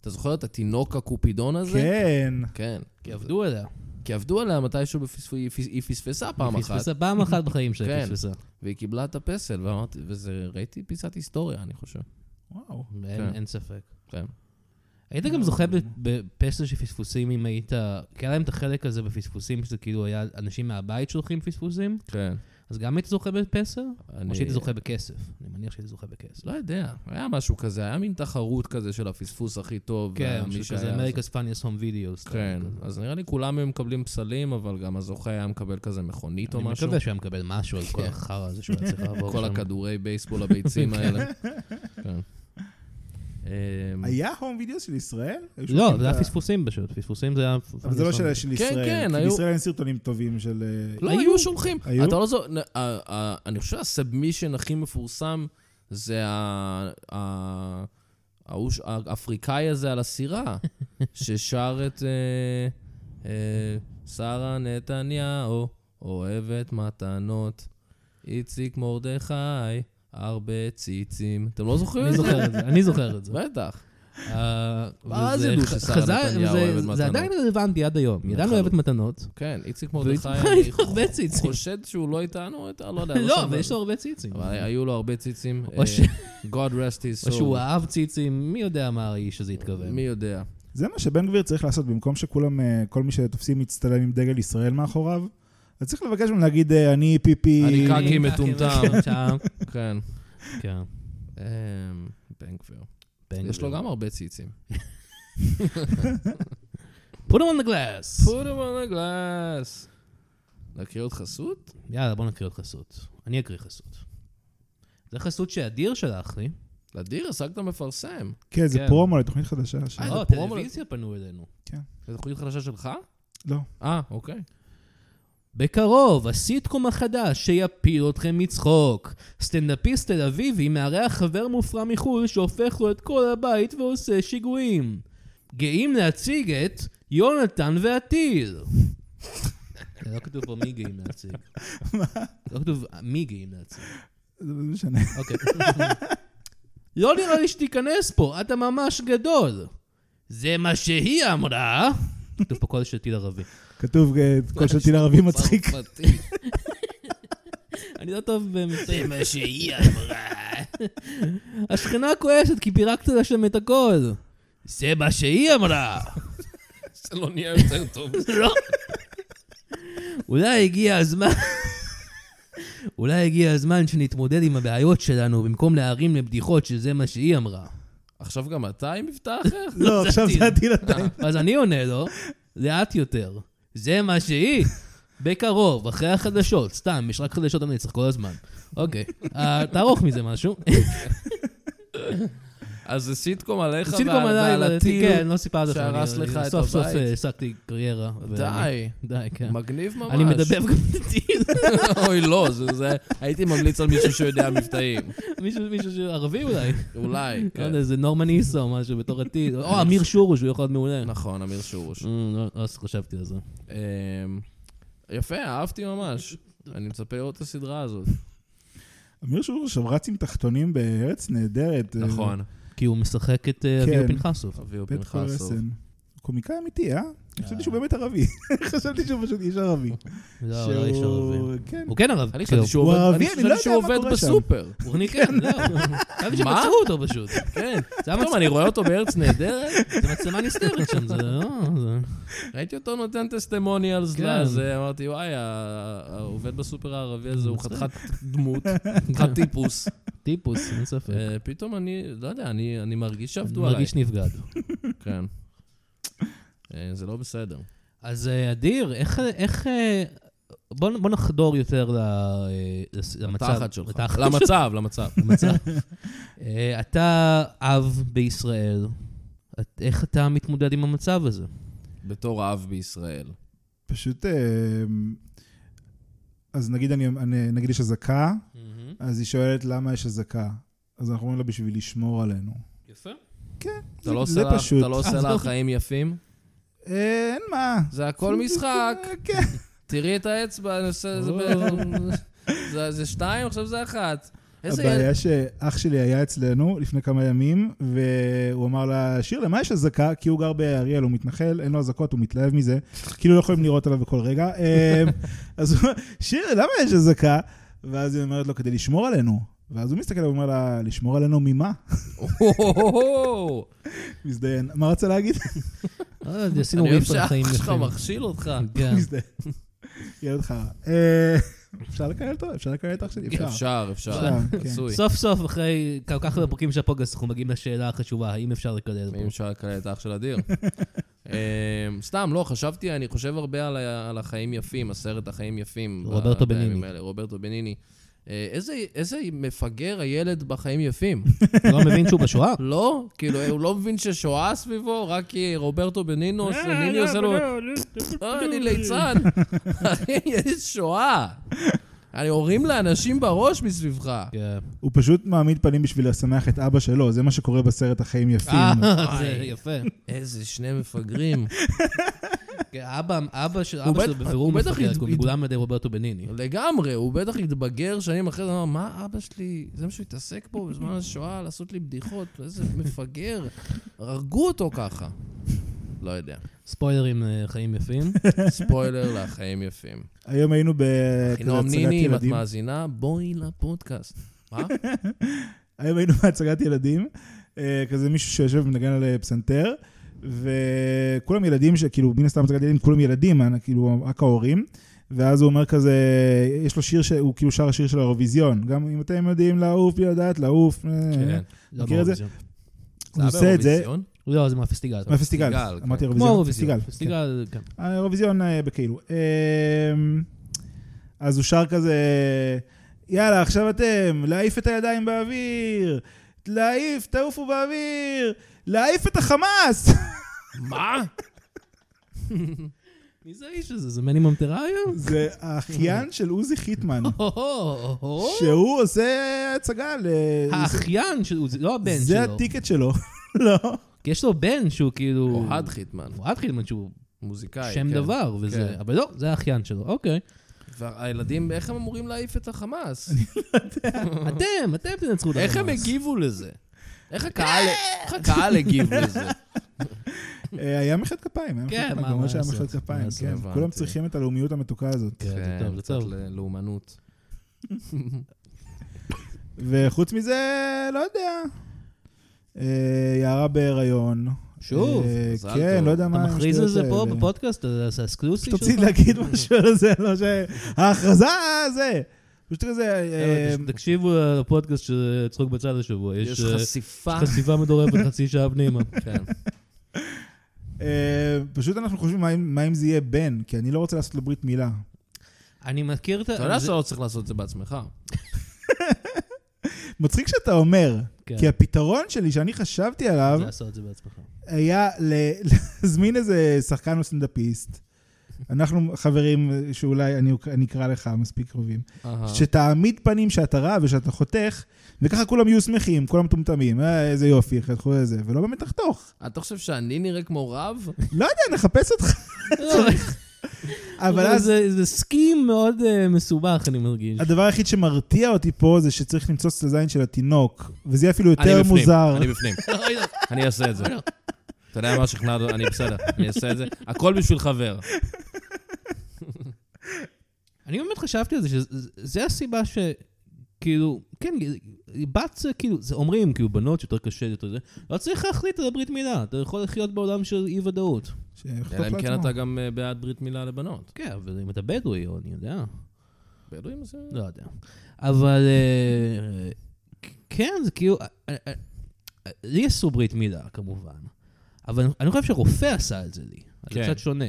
Speaker 1: אתה זוכר את התינוק הקופידון הזה?
Speaker 3: כן.
Speaker 1: כן.
Speaker 2: כי עבדו עליה.
Speaker 1: כי עבדו עליה מתישהו, בפספו... היא, פס... היא פספסה פעם
Speaker 2: היא
Speaker 1: אחת,
Speaker 2: פספסה פעם אחת בחיים שלה,
Speaker 1: כן.
Speaker 2: היא פספסה.
Speaker 1: והיא קיבלה את הפסל, ואמרתי, וזה, ראיתי פיסת היסטוריה, אני חושב.
Speaker 3: וואו.
Speaker 2: אין-
Speaker 1: כן.
Speaker 2: אין ספק.
Speaker 1: כן.
Speaker 2: היית גם זוכה
Speaker 3: Mm.
Speaker 2: ב- בפסל של פספוסים אם היית... כי היה להם את החלק הזה בפספוסים, שזה כאילו היה אנשים מהבית שולחים פספוסים,
Speaker 1: כן.
Speaker 2: אז גם היית זוכה בפסל?
Speaker 1: אני...
Speaker 2: או שהיית זוכה בכסף? אני מניח שהיית זוכה בכסף.
Speaker 1: לא יודע, היה משהו כזה, היה מין תחרות כזה של הפספוס הכי טוב.
Speaker 2: כן,
Speaker 1: ומי
Speaker 2: שכזה
Speaker 1: שהיה-
Speaker 2: אמריקה ספניאס הום וידאו.
Speaker 1: כן, אז נראה לי כולם היו מקבלים פסלים, אבל גם הזוכה היה מקבל כזה מכונית או
Speaker 2: אני
Speaker 1: משהו.
Speaker 2: מקווה כן. שהוא היה מקבל משהו על כל
Speaker 1: כן.
Speaker 2: החרא הזה שהוא היה צריך
Speaker 1: [LAUGHS]
Speaker 2: לעבור
Speaker 1: כל
Speaker 2: שם.
Speaker 3: [LAUGHS]
Speaker 1: הכדורי בייסבול הביצים
Speaker 2: [LAUGHS]
Speaker 1: האלה. כן. אמ,
Speaker 3: היה הום וידאו של ישראל? היו
Speaker 2: לא,
Speaker 3: שולחים
Speaker 2: זה
Speaker 3: את
Speaker 2: היה
Speaker 3: ה-
Speaker 2: פספוסים פשוט, פספוסים זה היה...
Speaker 3: אבל זה לא שאלה של ישראל.
Speaker 1: כן,
Speaker 3: כי
Speaker 1: היו-
Speaker 3: בישראל אין סרטונים טובים של... אה,
Speaker 1: לא,
Speaker 2: היו.
Speaker 1: היו שולחים.
Speaker 3: היו?
Speaker 1: אתה לא זו... נ- ה- ה- אני חושב שהסאבמישן הכי מפורסם זה ה- ה- ההוא ש- האפריקאי הזה על
Speaker 2: [LAUGHS]
Speaker 1: הסירה, ששר את אה, אה, שרה נתניהו, אוהבת מתנות, איציק מרדכי, הרבה ציצים. אתם לא זוכרים
Speaker 2: אני
Speaker 1: את זה?
Speaker 2: זוכר את זה, אני זוכר
Speaker 1: [LAUGHS]
Speaker 2: את זה.
Speaker 1: בטח.
Speaker 2: אה,
Speaker 1: ואז
Speaker 2: וזה
Speaker 1: ידעו
Speaker 2: ח-
Speaker 1: ששרה
Speaker 2: חז"ל-
Speaker 1: נתניהו
Speaker 2: זה-
Speaker 1: אוהבת
Speaker 2: זה
Speaker 1: מתנות.
Speaker 2: עדיין רלוונטי עד היום, היא עדיין
Speaker 1: נכון.
Speaker 2: אוהבת מתנות.
Speaker 1: כן, איציק
Speaker 2: והיא [LAUGHS]
Speaker 1: מרדכי, אני
Speaker 2: צריכה הרבה ציצים. [LAUGHS]
Speaker 1: חושד שהוא לא איתנו, אתה לא יודע.
Speaker 2: לא,
Speaker 1: סבבה.
Speaker 2: אבל יש לו הרבה ציצים.
Speaker 1: אבל
Speaker 2: [LAUGHS]
Speaker 1: היו לו הרבה ציצים.
Speaker 2: או
Speaker 1: אה,
Speaker 2: ש-
Speaker 1: God rest his soul.
Speaker 2: [LAUGHS] או שהוא אהב ציצים, מי יודע מה האיש הזה התכוון.
Speaker 1: מי יודע.
Speaker 3: זה מה שבן גביר צריך לעשות, במקום שכולם, אה, כל מי שתופסים מצטלם עם דגל ישראל מאחוריו, אז צריך לבקש ממנו להגיד, אה, אני פיפי...
Speaker 1: אני קקי.
Speaker 2: קקי
Speaker 1: מטומטם. [LAUGHS]
Speaker 2: מטומטם.
Speaker 1: כן.
Speaker 2: כן,
Speaker 1: אמ, בן גביר.
Speaker 2: בן
Speaker 1: יש לו
Speaker 2: גביר.
Speaker 1: גם הרבה
Speaker 2: [LAUGHS]
Speaker 1: ציצים.
Speaker 2: put him on the glass.
Speaker 1: put him on the glass. להקריא עוד חסות?
Speaker 2: יאללה, בוא נקריא עוד חסות. אני אקריא חסות. זה חסות שאדיר שלח לי.
Speaker 1: לדיר, השגת מפרסם.
Speaker 3: כן, זה
Speaker 2: כן. לא.
Speaker 3: פרומו לתוכנית חדשה. ש-
Speaker 1: אה,
Speaker 2: או,
Speaker 1: זה פרומו-
Speaker 2: טלוויזיה פנו אלינו.
Speaker 1: זו תוכנית חדשה שלך?
Speaker 3: לא.
Speaker 1: אה, אוקיי.
Speaker 2: [LAUGHS] בקרוב, הסיטקום החדש שיפיל אתכם מצחוק. סטנדאפיסט תל אביבי מארח חבר מופרע מחו"ל שהופך לו את כל הבית ועושה שיגועים. גאים להציג את יונתן והטיל. לא כתוב פה מי גאים להציג. לא כתוב מי גאים להציג.
Speaker 3: זה לא משנה. [LAUGHS]
Speaker 2: אוקיי. לא נראה לי שתיכנס פה, אתה ממש גדול. זה מה שהיא אמרה. כתוב פה קול של טיל ערבי.
Speaker 3: כתוב אה, קול של טיל ערבי
Speaker 1: [LAUGHS]
Speaker 3: מצחיק.
Speaker 1: צרפתי.
Speaker 2: אני לא טוב במבטאים. זה מה שהיא אמרה. השכנה כועסת כי פירקת לה שם את הכל. זה מה שהיא אמרה.
Speaker 1: זה לא נהיה יותר טוב. [LAUGHS]
Speaker 2: לא. אולי הגיע הזמן... אולי הגיע הזמן שנתמודד עם הבעיות שלנו במקום להרים לבדיחות שזה מה שהיא אמרה.
Speaker 1: עכשיו גם אתה עם מבטא אחר?
Speaker 2: [LAUGHS]
Speaker 3: לא,
Speaker 2: זה
Speaker 3: עכשיו
Speaker 2: הטיל.
Speaker 3: זה הטיל עדיין.
Speaker 2: אז אני עונה לו, לאט יותר. זה מה שהיא. בקרוב, אחרי החדשות, סתם, יש רק חדשות הנצח כל הזמן. אוקיי, אה, תערוך מזה משהו.
Speaker 1: אז זה סיטקום עליך
Speaker 2: עשיתי
Speaker 1: ועל-
Speaker 2: גם עליי,
Speaker 1: ועל
Speaker 2: אבל-
Speaker 1: הטיל.
Speaker 2: כן, לא סיפרת לך.
Speaker 1: שהרס
Speaker 2: אני-
Speaker 1: לך
Speaker 2: אני
Speaker 1: את
Speaker 2: סוף סוף
Speaker 1: הבית.
Speaker 2: אה, השגתי קריירה. ואני-
Speaker 1: די.
Speaker 2: די, כן.
Speaker 1: מגניב ממש.
Speaker 2: אני מדבר גם את הטיל.
Speaker 1: [LAUGHS]
Speaker 2: [LAUGHS]
Speaker 1: אוי, לא, זה- זה... הייתי ממליץ על מישהו שיודע
Speaker 2: [LAUGHS]
Speaker 1: מבטאים.
Speaker 2: מישהו מישהו שהוא ערבי אולי.
Speaker 1: אולי,
Speaker 2: לא
Speaker 1: [LAUGHS] כן. אה,
Speaker 2: יודע, זה נורמן איסו או משהו בתור הטיל. או אמיר שורוש, הוא יכול להיות מעולה.
Speaker 1: נכון, אמיר שורוש.
Speaker 2: אמ, לא- לא חשבתי על זה.
Speaker 1: אמ, יפה, אהבתי ממש. אני מצפה לראות את הסדרה הזאת.
Speaker 3: אמיר שור שם רץ עם תחתונים בארץ נהדרת. אה,
Speaker 1: נכון.
Speaker 2: כי הוא משחק את אה, אביהו
Speaker 3: כן.
Speaker 2: פנחסוב.
Speaker 1: אביהו
Speaker 3: בית
Speaker 1: פנחסוב.
Speaker 3: קורסן. קומיקאי אמיתי, אה? חשבתי שהוא באמת ערבי. [LAUGHS] חשבתי שהוא פשוט איש ערבי.
Speaker 2: לא, לא איש
Speaker 3: שהוא-
Speaker 2: ערבי.
Speaker 3: כן.
Speaker 2: הוא כן ערב.
Speaker 1: אני
Speaker 2: כאילו,
Speaker 1: חשבתי שהוא
Speaker 3: הוא
Speaker 1: עובד-
Speaker 3: ערבי,
Speaker 1: אני
Speaker 3: אני
Speaker 1: חשבתי
Speaker 3: לא יודע
Speaker 1: שהוא
Speaker 3: מה
Speaker 1: עובד
Speaker 3: קורה שם.
Speaker 1: בסופר.
Speaker 2: הוא כן,
Speaker 1: [LAUGHS]
Speaker 2: זהו. חשבתי
Speaker 1: מה?
Speaker 2: שמצאו אותו פשוט.
Speaker 1: כן.
Speaker 2: זה היה
Speaker 3: [LAUGHS]
Speaker 1: פתאום
Speaker 2: מצ-
Speaker 1: אני רואה אותו בארץ נהדרת,
Speaker 2: זה מצלמה נסתרת שם, זה לא... זה-
Speaker 1: [LAUGHS] ראיתי אותו נותן טסטימוניאלס
Speaker 2: כן.
Speaker 1: לזה, אמרתי, וואי, ה- העובד בסופר הערבי הזה הוא חתיכת
Speaker 3: [LAUGHS]
Speaker 1: דמות, חתיכת טיפוס.
Speaker 2: טיפוס, אין ספק.
Speaker 1: אה, פתאום אני, לא יודע, אני אני מרגיש
Speaker 2: אני
Speaker 1: שעבדו עליי.
Speaker 2: מרגיש נפגד.
Speaker 1: כן. אה, זה לא בסדר.
Speaker 2: אז אה, אדיר, איך... איך אה, בוא, בוא נחדור יותר ל- אה, לס- למצב.
Speaker 1: לתחת שלך.
Speaker 2: לתחת שלך.
Speaker 1: למצב, למצב.
Speaker 2: למצב. אה, אתה אב בישראל, את- איך אתה מתמודד עם המצב הזה?
Speaker 1: בתור אב בישראל.
Speaker 3: פשוט... אה, אז נגיד אני- אני- נגיד יש Mm-hmm. אזעקה, אז היא שואלת למה יש אזעקה. אז אנחנו אומרים לה בשביל לשמור עלינו.
Speaker 2: יפה.
Speaker 1: אתה לא
Speaker 3: זה
Speaker 1: עושה לה-
Speaker 3: פשוט.
Speaker 1: אתה לא עושה לה
Speaker 2: עזוב.
Speaker 1: חיים יפים?
Speaker 3: אה, אין מה.
Speaker 1: זה הכל משחק.
Speaker 3: כן.
Speaker 1: תראי את האצבע, אני עושה זה ב... זה- זה שתיים, עכשיו זה אחת. איזה
Speaker 3: [LAUGHS]
Speaker 1: ילד...
Speaker 3: הבעיה שאח שלי היה אצלנו לפני כמה ימים, והוא אמר לה, שיר, למה יש אזעקה? כי הוא גר באריאל, הוא מתנחל, אין לו אזעקות, הוא מתלהב מזה. כאילו לא יכולים לראות עליו בכל רגע. אמ, אז הוא אומר, שיר, למה יש אזעקה? ואז היא אומרת לו, כדי לשמור עלינו. ואז הוא מסתכל ואומר לה, לשמור עלינו ממה? [LAUGHS]
Speaker 1: אוהו,
Speaker 3: מזדיין. מה רצה להגיד?
Speaker 2: אה, אז עשינו
Speaker 1: אני אוהב
Speaker 2: ריף על החיים
Speaker 1: שאח שלך
Speaker 2: יפים.
Speaker 1: מכשיל אותך. [LAUGHS]
Speaker 2: כן.
Speaker 3: [LAUGHS] מזדיין. ילד חרא. אה, אפשר לקלל אותו? אפשר לקלל את אח שלי? אפשר.
Speaker 1: אפשר, אפשר.
Speaker 3: אפשר, כן.
Speaker 1: רצוי.
Speaker 2: סוף סוף, אחרי כל כך הרבה פרקים של הפוגס, אנחנו מגיעים לשאלה החשובה, האם אפשר לקלל
Speaker 1: אם
Speaker 2: פה?
Speaker 1: אפשר לקלל את האח של אדיר. [LAUGHS] אמ, סתם, לא, חשבתי, אני חושב הרבה על ה- על החיים יפים, הסרט החיים יפים. ב-
Speaker 2: רוברטו
Speaker 1: בימים
Speaker 2: בניני.
Speaker 1: האלה, רוברטו בניני. אה, איזה- איזה מפגר הילד בחיים יפים.
Speaker 2: אתה לא מבין שהוא בשואה?
Speaker 1: לא? כאילו, הוא לא מבין ששואה סביבו, רק כי רוברטו בנינו, ניני עושה לו... אה, אני ליצן. אחי, יש שואה. אני הורים לאנשים בראש מסביבך.
Speaker 2: כן.
Speaker 3: הוא פשוט מעמיד פנים בשביל לשמח את אבא שלו, זה מה שקורה בסרט החיים יפים.
Speaker 2: אה, זה יפה.
Speaker 1: איזה שני מפגרים.
Speaker 2: כן, אבא אבא של-
Speaker 1: הוא
Speaker 2: אבא
Speaker 1: בט-
Speaker 2: שלו בבירור
Speaker 1: הוא בטח
Speaker 2: מפגר,
Speaker 1: הת-
Speaker 2: כי הוא
Speaker 1: הת-
Speaker 2: מגולם על ידי רוברטו בניני.
Speaker 1: לגמרי, הוא בטח התבגר שנים אחרי זה, אמר, מה אבא שלי, זה מה שהוא התעסק בו בזמן השואה, לעשות לי בדיחות, איזה מפגר. הרגו אותו ככה. לא יודע.
Speaker 2: ספוילרים, אה, חיים יפים.
Speaker 1: ספוילר לחיים יפים.
Speaker 3: היום היינו בכזה
Speaker 1: חינום
Speaker 3: הצגת
Speaker 1: ניני, אם את
Speaker 3: ילדים.
Speaker 1: מאזינה, בואי לפודקאסט. מה?
Speaker 3: היום היינו [LAUGHS] בהצגת ילדים, אה, כזה מישהו שיושב ומנגן על אה, פסנתר, וכולם ילדים, שכאילו, מן הסתם הצגת ילדים, כולם ילדים, אה, כאילו, רק ההורים. ואז הוא אומר כזה, יש לו שיר שהוא כאילו שר השיר של האירוויזיון. גם אם אתם יודעים לעוף, יודעת, לעוף. אה, אה.
Speaker 1: כן.
Speaker 2: לא
Speaker 3: מכיר את זה?
Speaker 2: מאירוויזיון.
Speaker 3: הוא עושה את זה.
Speaker 1: באירוויזיון?
Speaker 2: לא, זה מהפסטיגל.
Speaker 3: מהפסטיגל,
Speaker 1: פסטיגל, כן.
Speaker 3: אמרתי
Speaker 2: כמו
Speaker 3: אירוויזיון.
Speaker 2: האירוויזיון.
Speaker 3: פסטיגל. כן.
Speaker 2: פסטיגל, כן.
Speaker 3: האירוויזיון אה, בכאילו. אמ, אז הוא שר כזה, יאללה, עכשיו אתם, להעיף את הידיים באוויר, להעיף, תעופו באוויר, להעיף את החמאס.
Speaker 1: מה?
Speaker 2: מי זה האיש הזה? זה מני ממטריה?
Speaker 3: זה האחיין של עוזי חיטמן,
Speaker 2: או-הו-הו-הו.
Speaker 3: שהוא עושה הצגה ל...
Speaker 2: האחיין שלו, זה לא הבן
Speaker 3: זה
Speaker 2: שלו.
Speaker 3: הטיקט שלו, [LAUGHS] לא?
Speaker 2: כי יש לו בן שהוא כאילו...
Speaker 1: אוהד חיטמן,
Speaker 2: אוהד חיטמן שהוא
Speaker 1: מוזיקאי.
Speaker 2: שם
Speaker 1: כן.
Speaker 2: דבר, וזה...
Speaker 1: כן.
Speaker 2: אבל לא, זה האחיין שלו,
Speaker 1: [LAUGHS]
Speaker 2: אוקיי.
Speaker 1: והילדים, איך הם אמורים להעיף את החמאס?
Speaker 2: אתם, אתם תנצחו את
Speaker 1: איך הם
Speaker 2: החמאס.
Speaker 1: הגיבו לזה? איך הקהל- איך הקהל הגיב [LAUGHS] לזה?
Speaker 3: אה, היה מחיאות כפיים, היה מחיאות
Speaker 2: כן,
Speaker 3: כפיים,
Speaker 2: מה-
Speaker 3: כמובן
Speaker 2: מה
Speaker 3: שהיה
Speaker 2: לעשות?
Speaker 3: מחיאות
Speaker 2: מה
Speaker 3: כפיים,
Speaker 2: לעשות?
Speaker 3: כן.
Speaker 1: הבנתי.
Speaker 3: כולם צריכים את הלאומיות המתוקה הזאת.
Speaker 2: כן, זה טוב, זה
Speaker 1: קצת
Speaker 2: טוב.
Speaker 1: ל- לאומנות.
Speaker 3: וחוץ מזה, לא יודע. אה, יערה בהיריון.
Speaker 2: שוב,
Speaker 3: אה,
Speaker 1: מזל
Speaker 3: כן,
Speaker 1: טוב.
Speaker 3: לא יודע מה...
Speaker 2: אתה מכריז על
Speaker 3: השטויות
Speaker 2: זה פה
Speaker 3: האלה.
Speaker 2: בפודקאסט? אתה- זה האסקלוסי
Speaker 3: פשוט
Speaker 2: שלך? אה,
Speaker 3: רציתי אה, להגיד משהו על זה, לא ש... ההכרזה זה! פשוט כזה... אה,
Speaker 2: אה, תקשיבו לפודקאסט של צחוק בצד השבוע. יש
Speaker 1: יש
Speaker 2: אה,
Speaker 1: חשיפה.
Speaker 2: חשיפה מטורפת חצי שעה פנימה.
Speaker 1: [LAUGHS] כן.
Speaker 3: אה, פשוט אנחנו חושבים מה אם- מה אם זה יהיה בן, כי אני לא רוצה לעשות לו ברית מילה.
Speaker 2: אני מכיר את ה...
Speaker 1: אתה יודע
Speaker 2: זה-
Speaker 1: שאתה לא צריך לעשות את זה בעצמך.
Speaker 3: מצחיק שאתה אומר,
Speaker 2: כן,
Speaker 3: כי הפתרון שלי שאני חשבתי עליו,
Speaker 2: זה לעשות את זה בעצמך.
Speaker 3: היה ל- [LAUGHS] להזמין איזה שחקן או סטנדאפיסט. אנחנו חברים אה, שאולי אני אני אקרא לך מספיק קרובים.
Speaker 1: אהה.
Speaker 3: שתעמיד פנים שאתה רע ושאתה חותך, וככה כולם יהיו שמחים, כולם מטומטמים, אה, איזה יופי, חתכו את זה, ולא באמת תחתוך.
Speaker 1: [LAUGHS] אתה חושב שאני נראה כמו רב?
Speaker 3: לא יודע, נחפש אותך. [LAUGHS]
Speaker 2: לא,
Speaker 3: אבל
Speaker 1: לא,
Speaker 2: אבל
Speaker 3: אז
Speaker 2: זה זה סכים מאוד אה, מסובך, אני מרגיש.
Speaker 3: הדבר היחיד שמרתיע אותי פה זה שצריך למצוץ את הזין של התינוק, וזה אפילו
Speaker 1: אני
Speaker 3: יותר
Speaker 1: בפנים,
Speaker 3: מוזר.
Speaker 1: אני [LAUGHS] בפנים. אני אעשה את זה. אתה יודע מה שכנעת, אותי? אני בסדר, אני אעשה את זה. הכל בשביל חבר.
Speaker 2: אני באמת חשבתי על זה, שזה הסיבה ש... כאילו, כן, בת זה כאילו, זה אומרים, כאילו, בנות שיותר קשה, יותר זה, לא צריך להחליט על הברית מילה, אתה יכול לחיות בעולם של אי-ודאות.
Speaker 3: שיחתוך
Speaker 1: אלא אם כן
Speaker 3: לעצמו.
Speaker 1: אתה גם אה, בעד ברית מילה לבנות.
Speaker 2: כן, אבל אם אתה בדואי, או אני יודע,
Speaker 1: בדואים זה...
Speaker 2: לא יודע. אבל אה, כן, זה כאילו, אה, אה, אה, לי עשו ברית מילה, כמובן, אבל אני- אני חושב שרופא עשה את זה לי, אז זה
Speaker 1: כן.
Speaker 2: קצת שונה.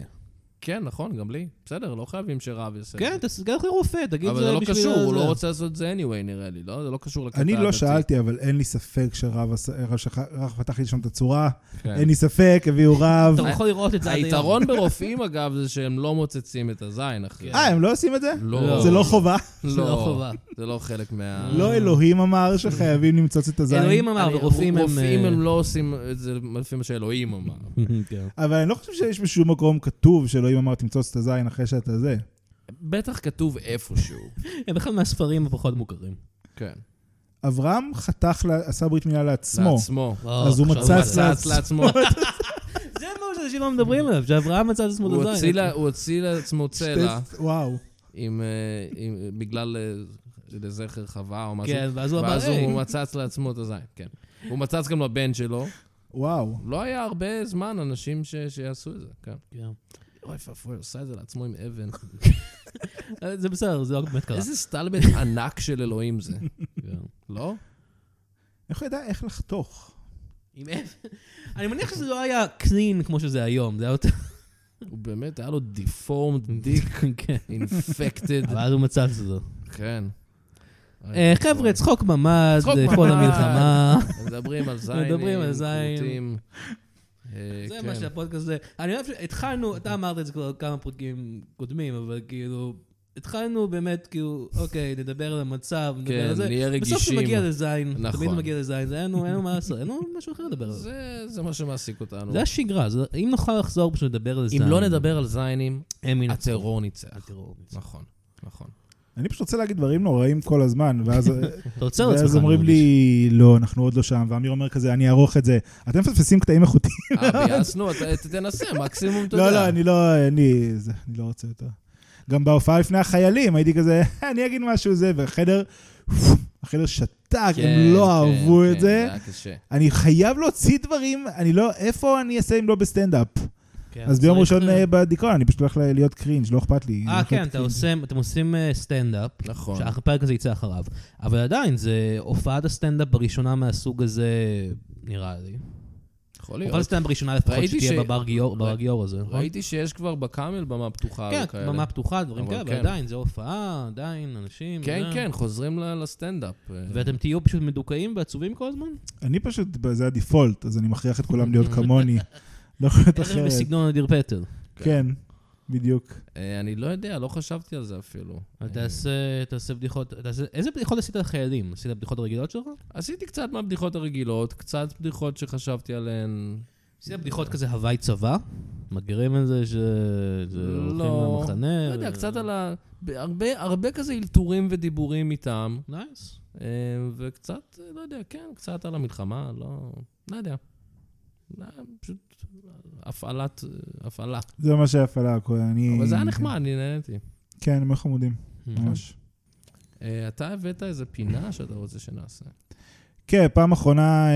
Speaker 1: כן, נכון, גם לי. בסדר, לא חייבים שרב יעשה את זה.
Speaker 2: כן, תסגר לרופא, תגיד
Speaker 1: אבל
Speaker 2: זה
Speaker 1: זה לא
Speaker 2: בשביל
Speaker 1: קשור, הוא
Speaker 2: הזה."
Speaker 1: לא רוצה לעשות את זה anyway, נראה לי, לא? זה לא קשור לקטע
Speaker 3: אני לא
Speaker 1: הדתי.
Speaker 3: שאלתי, אבל אין לי ספק שרב עשה- רב שח- רב פתח לי שם את הצורה.
Speaker 1: כן.
Speaker 3: אין לי ספק, הביאו
Speaker 1: [LAUGHS]
Speaker 3: רב.
Speaker 2: אתה לא יכול לראות את זה עד היום.
Speaker 1: היתרון ברופאים, אגב, זה שהם לא מוצצים את הזין, אחי.
Speaker 3: אה, הם אה, לא עושים את זה?
Speaker 1: לא.
Speaker 3: זה לא חובה?
Speaker 2: [LAUGHS] זה לא חובה.
Speaker 1: זה לא חלק מה...
Speaker 3: לא אלוהים אמר שחייבים למצוץ את הזין.
Speaker 2: אלוהים אמר,
Speaker 1: אני-
Speaker 2: ורופאים הם...
Speaker 1: רופאים
Speaker 2: אה,
Speaker 1: הם לא עושים את זה לפי מה שאלוהים אמר.
Speaker 2: [LAUGHS]
Speaker 1: [LAUGHS]
Speaker 2: כן.
Speaker 3: אבל אני לא חושב שיש בשום מקום כתוב שאלוהים אמר תמצוץ את הזין אחרי שאתה זה.
Speaker 1: בטח כתוב איפשהו.
Speaker 2: הם בכלל מהספרים הפחות מוכרים.
Speaker 1: כן.
Speaker 3: אברהם חתך, לה- עשה ברית מילה לעצמו.
Speaker 1: לעצמו.
Speaker 3: אז הוא
Speaker 2: עכשיו
Speaker 3: מצא
Speaker 2: הבנתי.
Speaker 1: צץ לעצמו.
Speaker 2: זה מה שאנשים לא מדברים עליו, שאברהם מצא את עצמו
Speaker 1: הוא
Speaker 2: לזין.
Speaker 1: הוציא לה- הוא הוציא לעצמו צלע
Speaker 3: שתי- וואו.
Speaker 1: עם, אה, עם- בגלל אה, לזכר חווה או משהו.
Speaker 2: כן, ואז הוא אמר,
Speaker 1: ואז
Speaker 2: "היי."
Speaker 1: הוא מצץ לעצמו את הזין, כן. הוא מצץ גם לבן שלו.
Speaker 3: וואו.
Speaker 1: לא היה הרבה זמן אנשים ש- שיעשו את זה, כן.
Speaker 2: כן.
Speaker 1: אוי ואבוי, הוא עשה את זה לעצמו עם [LAUGHS] אבן.
Speaker 2: אה, זה בסדר, זה לא באמת קרה.
Speaker 1: איזה סטלבט ענק של אלוהים זה,
Speaker 2: כן.
Speaker 1: לא?
Speaker 3: איך הוא ידע איך לחתוך?
Speaker 2: עם אבן. אני מניח שזה לא היה קלין כמו שזה היום, זה היה
Speaker 1: [LAUGHS]
Speaker 2: יותר...
Speaker 1: הוא באמת, היה לו דיפורמד דיק,
Speaker 2: כן.
Speaker 1: אינפקטד, [LAUGHS]
Speaker 2: אבל אז הוא מצא את זה.
Speaker 1: כן.
Speaker 2: אה, חבר'ה, צחוק ממ"ד,
Speaker 1: צחוק
Speaker 2: אה, כל
Speaker 1: ממ"ד.
Speaker 2: המלחמה.
Speaker 1: מדברים על זיינים,
Speaker 2: מדברים על זין.
Speaker 1: כרותים. אה,
Speaker 2: זה
Speaker 1: כן. אוקיי.
Speaker 2: מה שהפודקאסט הזה... אני אוהב שהתחלנו, אתה אמרת את זה כבר כמה פרקים קודמים, אבל כאילו... התחלנו באמת, כאילו, אוקיי, נדבר על המצב, נדבר
Speaker 1: כן,
Speaker 2: על זה.
Speaker 1: נהיה
Speaker 2: בסוף זה
Speaker 1: רגישים.
Speaker 2: מגיע לזין,
Speaker 1: נכון.
Speaker 2: תמיד מגיע לזין, זה אין לנו אין לנו מה לעשות, אין לנו משהו אחר לדבר עליו.
Speaker 1: זה- זה מה שמעסיק אותנו.
Speaker 2: זה השגרה, זה- אם נוכל לחזור פשוט לדבר על זין. אה, אוקיי.
Speaker 1: אם לא נדבר על זיינים,
Speaker 2: הם ינצחו.
Speaker 1: הטרור ניצח.
Speaker 2: הטרור.
Speaker 1: נכון, נכון.
Speaker 3: אני פשוט רוצה להגיד דברים נוראים כל הזמן, ואז
Speaker 2: אתה עוצר לעצמך.
Speaker 3: ואז
Speaker 2: אני
Speaker 3: אומרים
Speaker 2: מרגיש.
Speaker 3: לי, לא, אנחנו עוד לא שם, ואמיר אומר כזה, אני אערוך את זה. אתם מפספסים קטעים איכותיים.
Speaker 1: [LAUGHS] אה, ביאסנו, אתה- ת- תנסה, מקסימום אתה יודע.
Speaker 3: לא, לא, אני לא, אני זה- אני לא רוצה יותר. גם בהופעה לפני החיילים, הייתי כזה, "אה, אני אגיד משהו זה, והחדר, החדר שתק,
Speaker 1: כן,
Speaker 3: הם
Speaker 1: כן,
Speaker 3: לא אהבו
Speaker 1: כן,
Speaker 3: את זה.
Speaker 1: היה קשה.
Speaker 3: אני חייב להוציא דברים, אני לא, איפה אני אעשה אם לא בסטנדאפ?
Speaker 2: כן,
Speaker 3: אז ביום
Speaker 2: צריך-
Speaker 3: ראשון אה, בדיכאון, אני פשוט הולך ל- להיות קרינג', לא אכפת לי. אני
Speaker 2: אה,
Speaker 3: הולך
Speaker 2: כן,
Speaker 3: להיות
Speaker 2: אתה
Speaker 3: קרינג'.
Speaker 2: עושה, אתם עושים אה, סטנדאפ,
Speaker 1: נכון.
Speaker 2: שהפרק הזה יצא אחריו. אבל עדיין, זה הופעת הסטנדאפ הראשונה מהסוג הזה, נראה לי.
Speaker 1: יכול
Speaker 2: הופעת
Speaker 1: להיות.
Speaker 2: הסטנדאפ הראשונה לפחות
Speaker 1: ראיתי
Speaker 2: שתהיה
Speaker 1: ש-
Speaker 2: בבר גיאור- בבר
Speaker 1: ראי-
Speaker 2: גיאור הזה, נכון?
Speaker 1: ראיתי שיש כבר בקאמל במה פתוחה
Speaker 2: כן,
Speaker 1: וכאלה.
Speaker 2: במה פתוחה, דברים
Speaker 1: אבל
Speaker 2: כאלה, אבל
Speaker 1: כן.
Speaker 2: עדיין, זו הופעה, עדיין, אנשים...
Speaker 1: כן,
Speaker 2: זה.
Speaker 1: כן, חוזרים ל- לסטנדאפ. אה,
Speaker 2: ואתם תהיו פשוט מדוכאים ועצובים כל הזמן?
Speaker 3: אני פשוט, זה הדיפולט, אז אני מכריח את כולם להיות
Speaker 2: [LAUGHS]
Speaker 3: כמוני. לא יכול להיות
Speaker 2: איך
Speaker 3: אחרת.
Speaker 2: בסגנון אדיר פטר.
Speaker 3: כן, בדיוק.
Speaker 1: אה, אני לא יודע, לא חשבתי על זה אפילו.
Speaker 2: אז
Speaker 1: אה,
Speaker 2: תעשה- תעשה בדיחות, תעשה- איזה בדיחות עשית לחיילים? עשית בדיחות רגילות שלך?
Speaker 1: עשיתי קצת מהבדיחות הרגילות, קצת בדיחות שחשבתי עליהן.
Speaker 2: עשית בדיחות כזה הוואי צבא? מכירים את זה ש... זה הולכים
Speaker 1: לא.
Speaker 2: למחנה?
Speaker 1: לא יודע, קצת על ה... ב- הרבה, הרבה כזה אלתורים ודיבורים איתם,
Speaker 2: נייס.
Speaker 1: אה, וקצת, אה, לא יודע, כן, קצת על המלחמה, לא... לא יודע. לא, פשוט הפעלת, אה, הפעלה.
Speaker 3: זה ממש היה הפעלה, הכל, אני...
Speaker 1: אבל זה היה נחמד, אני נהניתי.
Speaker 3: כן, הם היו חמודים,
Speaker 2: נכון.
Speaker 3: ממש.
Speaker 1: אה, אתה הבאת איזה פינה שאתה רוצה שנעשה.
Speaker 3: כן, פעם אחרונה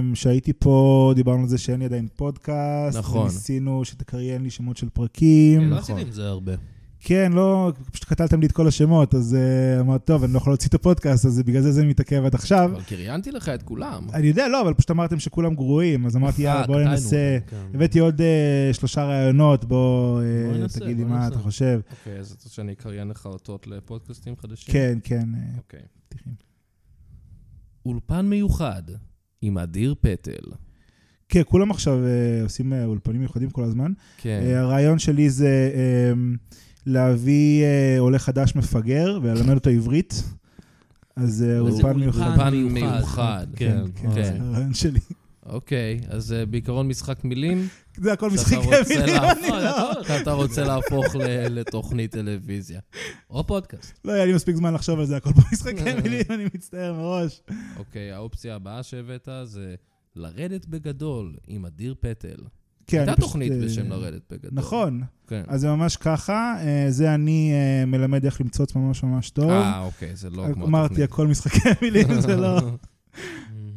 Speaker 3: אמ, שהייתי פה, דיברנו על זה שאין לי עדיין פודקאסט.
Speaker 1: נכון.
Speaker 3: ניסינו שתקריין לי שמות של פרקים.
Speaker 2: לא
Speaker 1: נכון.
Speaker 2: עשיתי עם זה הרבה.
Speaker 3: כן, לא, פשוט קטלתם לי את כל השמות, אז אה, אמרתי, טוב, אני לא יכול להוציא את הפודקאסט, אז בגלל זה זה מתעכב עד עכשיו.
Speaker 1: אבל קריינתי לך את כולם.
Speaker 3: אני יודע, לא, אבל פשוט אמרתם שכולם גרועים, אז אמרתי, יאללה, בואו
Speaker 2: קטענו.
Speaker 3: ננסה.
Speaker 2: כן.
Speaker 3: הבאתי עוד אה, שלושה רעיונות, בוא אה,
Speaker 2: בוא ננסה,
Speaker 3: תגיד לי
Speaker 2: בוא
Speaker 3: מה
Speaker 2: ננסה.
Speaker 3: אתה חושב.
Speaker 1: אוקיי, אז אתה רוצה שאני אקריין לך אותות לפודקאסטים חדשים?
Speaker 3: כן, כן. אה,
Speaker 1: אוקיי.
Speaker 3: פתיחים.
Speaker 1: אולפן מיוחד עם אדיר פטל.
Speaker 3: כן, כולם עכשיו אה, עושים אה, אולפנים מיוחדים כל הזמן.
Speaker 1: כן.
Speaker 3: אה, הרעיון שלי זה אה, להביא אה, עולה חדש מפגר וללמד אותו עברית. אז אה,
Speaker 1: וזה
Speaker 3: אולפן מיוחד.
Speaker 1: אולפן מיוחד.
Speaker 2: כן,
Speaker 3: כן,
Speaker 1: כן.
Speaker 3: זה הרעיון שלי.
Speaker 1: אוקיי, אז אה, בעיקרון משחק מילים.
Speaker 3: זה הכל
Speaker 1: שאתה
Speaker 3: משחק
Speaker 1: רוצה
Speaker 3: מילים, אני
Speaker 1: להפוך-
Speaker 3: לא...
Speaker 1: אתה רוצה להפוך ל- לתוכנית טלוויזיה.
Speaker 2: או פודקאסט.
Speaker 3: לא היה לי מספיק זמן לחשוב על זה, הכל פה משחקי
Speaker 1: אה.
Speaker 3: מילים, אני מצטער מראש.
Speaker 1: אוקיי, האופציה הבאה שהבאת זה לרדת בגדול עם אדיר פטל.
Speaker 3: כן,
Speaker 1: הייתה
Speaker 3: אני פשוט,
Speaker 1: תוכנית
Speaker 3: אה,
Speaker 1: בשם לרדת בגדול.
Speaker 3: נכון,
Speaker 1: כן.
Speaker 3: אז זה ממש ככה, אה, זה אני אה, מלמד איך למצוץ ממש ממש טוב.
Speaker 1: אה, אוקיי, זה לא כמו
Speaker 3: אמרתי,
Speaker 1: התוכנית.
Speaker 3: הכל
Speaker 1: [LAUGHS]
Speaker 3: משחקי מילים, זה לא...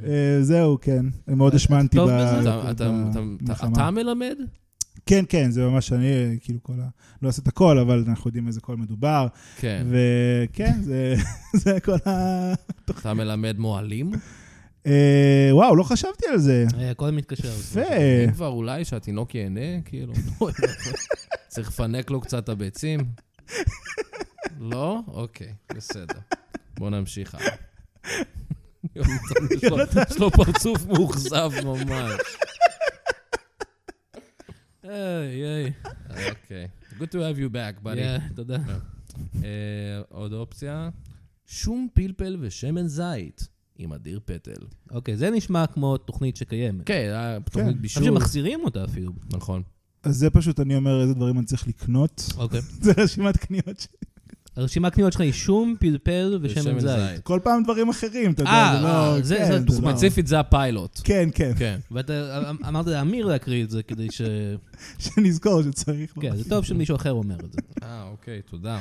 Speaker 3: אה, זהו, כן. אני מאוד השמנתי
Speaker 2: טוב
Speaker 3: ב-
Speaker 2: בזה?
Speaker 1: אה, אתה- אתה- אתה- אתה-
Speaker 3: במלחמה.
Speaker 1: אתה מלמד?
Speaker 3: כן, כן, זה ממש אני, כאילו כל ה... לא עושה את הכל, אבל אנחנו יודעים איזה קול מדובר.
Speaker 1: כן.
Speaker 3: וכן, זה- [LAUGHS] זה כל ה...
Speaker 1: אתה מלמד מוהלים?
Speaker 3: אה, וואו, לא חשבתי על זה.
Speaker 2: אה, הכל מתקשר.
Speaker 3: יפה.
Speaker 1: אם כבר אולי שהתינוק ייהנה, כאילו. צריך לפנק לו קצת את הביצים? לא? אוקיי, בסדר. בוא נמשיך הלאה. יונתן, יש לו- יש לו פרצוף מאוכזב ממש.
Speaker 2: היי, היי.
Speaker 1: אוקיי. Good to have you back, buddy.
Speaker 2: Yeah, תודה.
Speaker 1: אה, עוד אופציה? שום פלפל ושמן זית עם אדיר פטל.
Speaker 2: אוקיי, זה נשמע כמו תוכנית שקיימת.
Speaker 1: כן, היה תוכנית
Speaker 3: כן.
Speaker 2: עכשיו
Speaker 1: בישול.
Speaker 2: שמחזירים אותה אפילו.
Speaker 1: נכון.
Speaker 3: אז זה פשוט, אני אומר איזה דברים אני צריך לקנות. [LAUGHS]
Speaker 2: אוקיי.
Speaker 3: זה רשימת קניות שלי.
Speaker 2: הרשימת קניות שלך היא שום, פלפל ושמן זית.
Speaker 3: כל פעם דברים אחרים, אתה יודע,
Speaker 2: אה,
Speaker 3: זה לא...
Speaker 2: אה, זה-
Speaker 3: כן,
Speaker 2: זה
Speaker 3: לא-
Speaker 1: ספציפית זה הפיילוט.
Speaker 3: כן, כן, [LAUGHS]
Speaker 1: כן.
Speaker 2: ואתה אמ- אמרת לאמיר להקריא את זה כדי ש...
Speaker 3: שנזכור שצריך.
Speaker 2: כן, זה טוב שמישהו אחר אומר את זה.
Speaker 1: אה, אוקיי, תודה.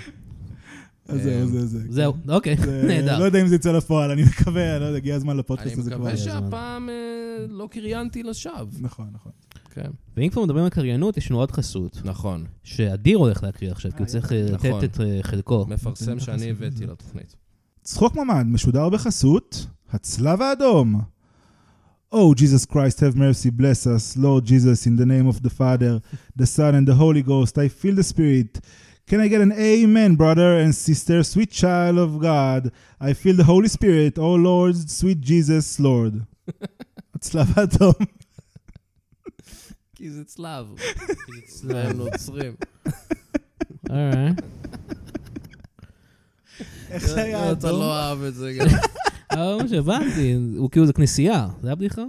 Speaker 3: אז זהו, זה זה.
Speaker 2: אה, זהו, אוקיי,
Speaker 3: זה-
Speaker 2: [LAUGHS]
Speaker 3: לא
Speaker 2: נהדר.
Speaker 3: יודע אם זה יצא לפועל, אני מקווה, אני לא יודע, הגיע הזמן
Speaker 1: אני
Speaker 3: לפודקאסט הזה כבר.
Speaker 1: מקווה
Speaker 2: ש-
Speaker 1: שהפעם אה, לא קריינתי לשווא.
Speaker 3: נכון, נכון.
Speaker 1: כן.
Speaker 2: ואם כבר מדברים על קריינות, יש לנו עוד חסות,
Speaker 1: נכון.
Speaker 2: שאדיר הולך להקריא עכשיו, כי הוא צריך אה,
Speaker 1: נכון.
Speaker 2: לתת את אה,
Speaker 1: [LAUGHS]
Speaker 2: חלקו.
Speaker 3: [LAUGHS]
Speaker 1: מפרסם שאני הבאתי לתוכנית.
Speaker 3: צחוק ממ"ד משודר בחסות הצלב האדום. Oh, Jesus Christ, have mercy, bless us, Lord Jesus, in the name of the Father, the Son, and the Holy Ghost, I feel the Spirit. Can I get an amen, brother and sister, sweet child of God? I feel the Holy Spirit, oh Lord, sweet Jesus,
Speaker 1: [LAUGHS]
Speaker 3: Lord. הצלב האדום.
Speaker 1: כי זה צלב. [LAUGHS] כי זה צלב נוצרים.
Speaker 2: אוקיי.
Speaker 3: איך [LAUGHS] זה היה
Speaker 1: אתה לא
Speaker 3: אדום?
Speaker 1: אהב את
Speaker 3: [LAUGHS]
Speaker 1: זה גם.
Speaker 2: אבל מה שהבנתי, הוא כאילו זה כנסייה, זה היה בדיחה?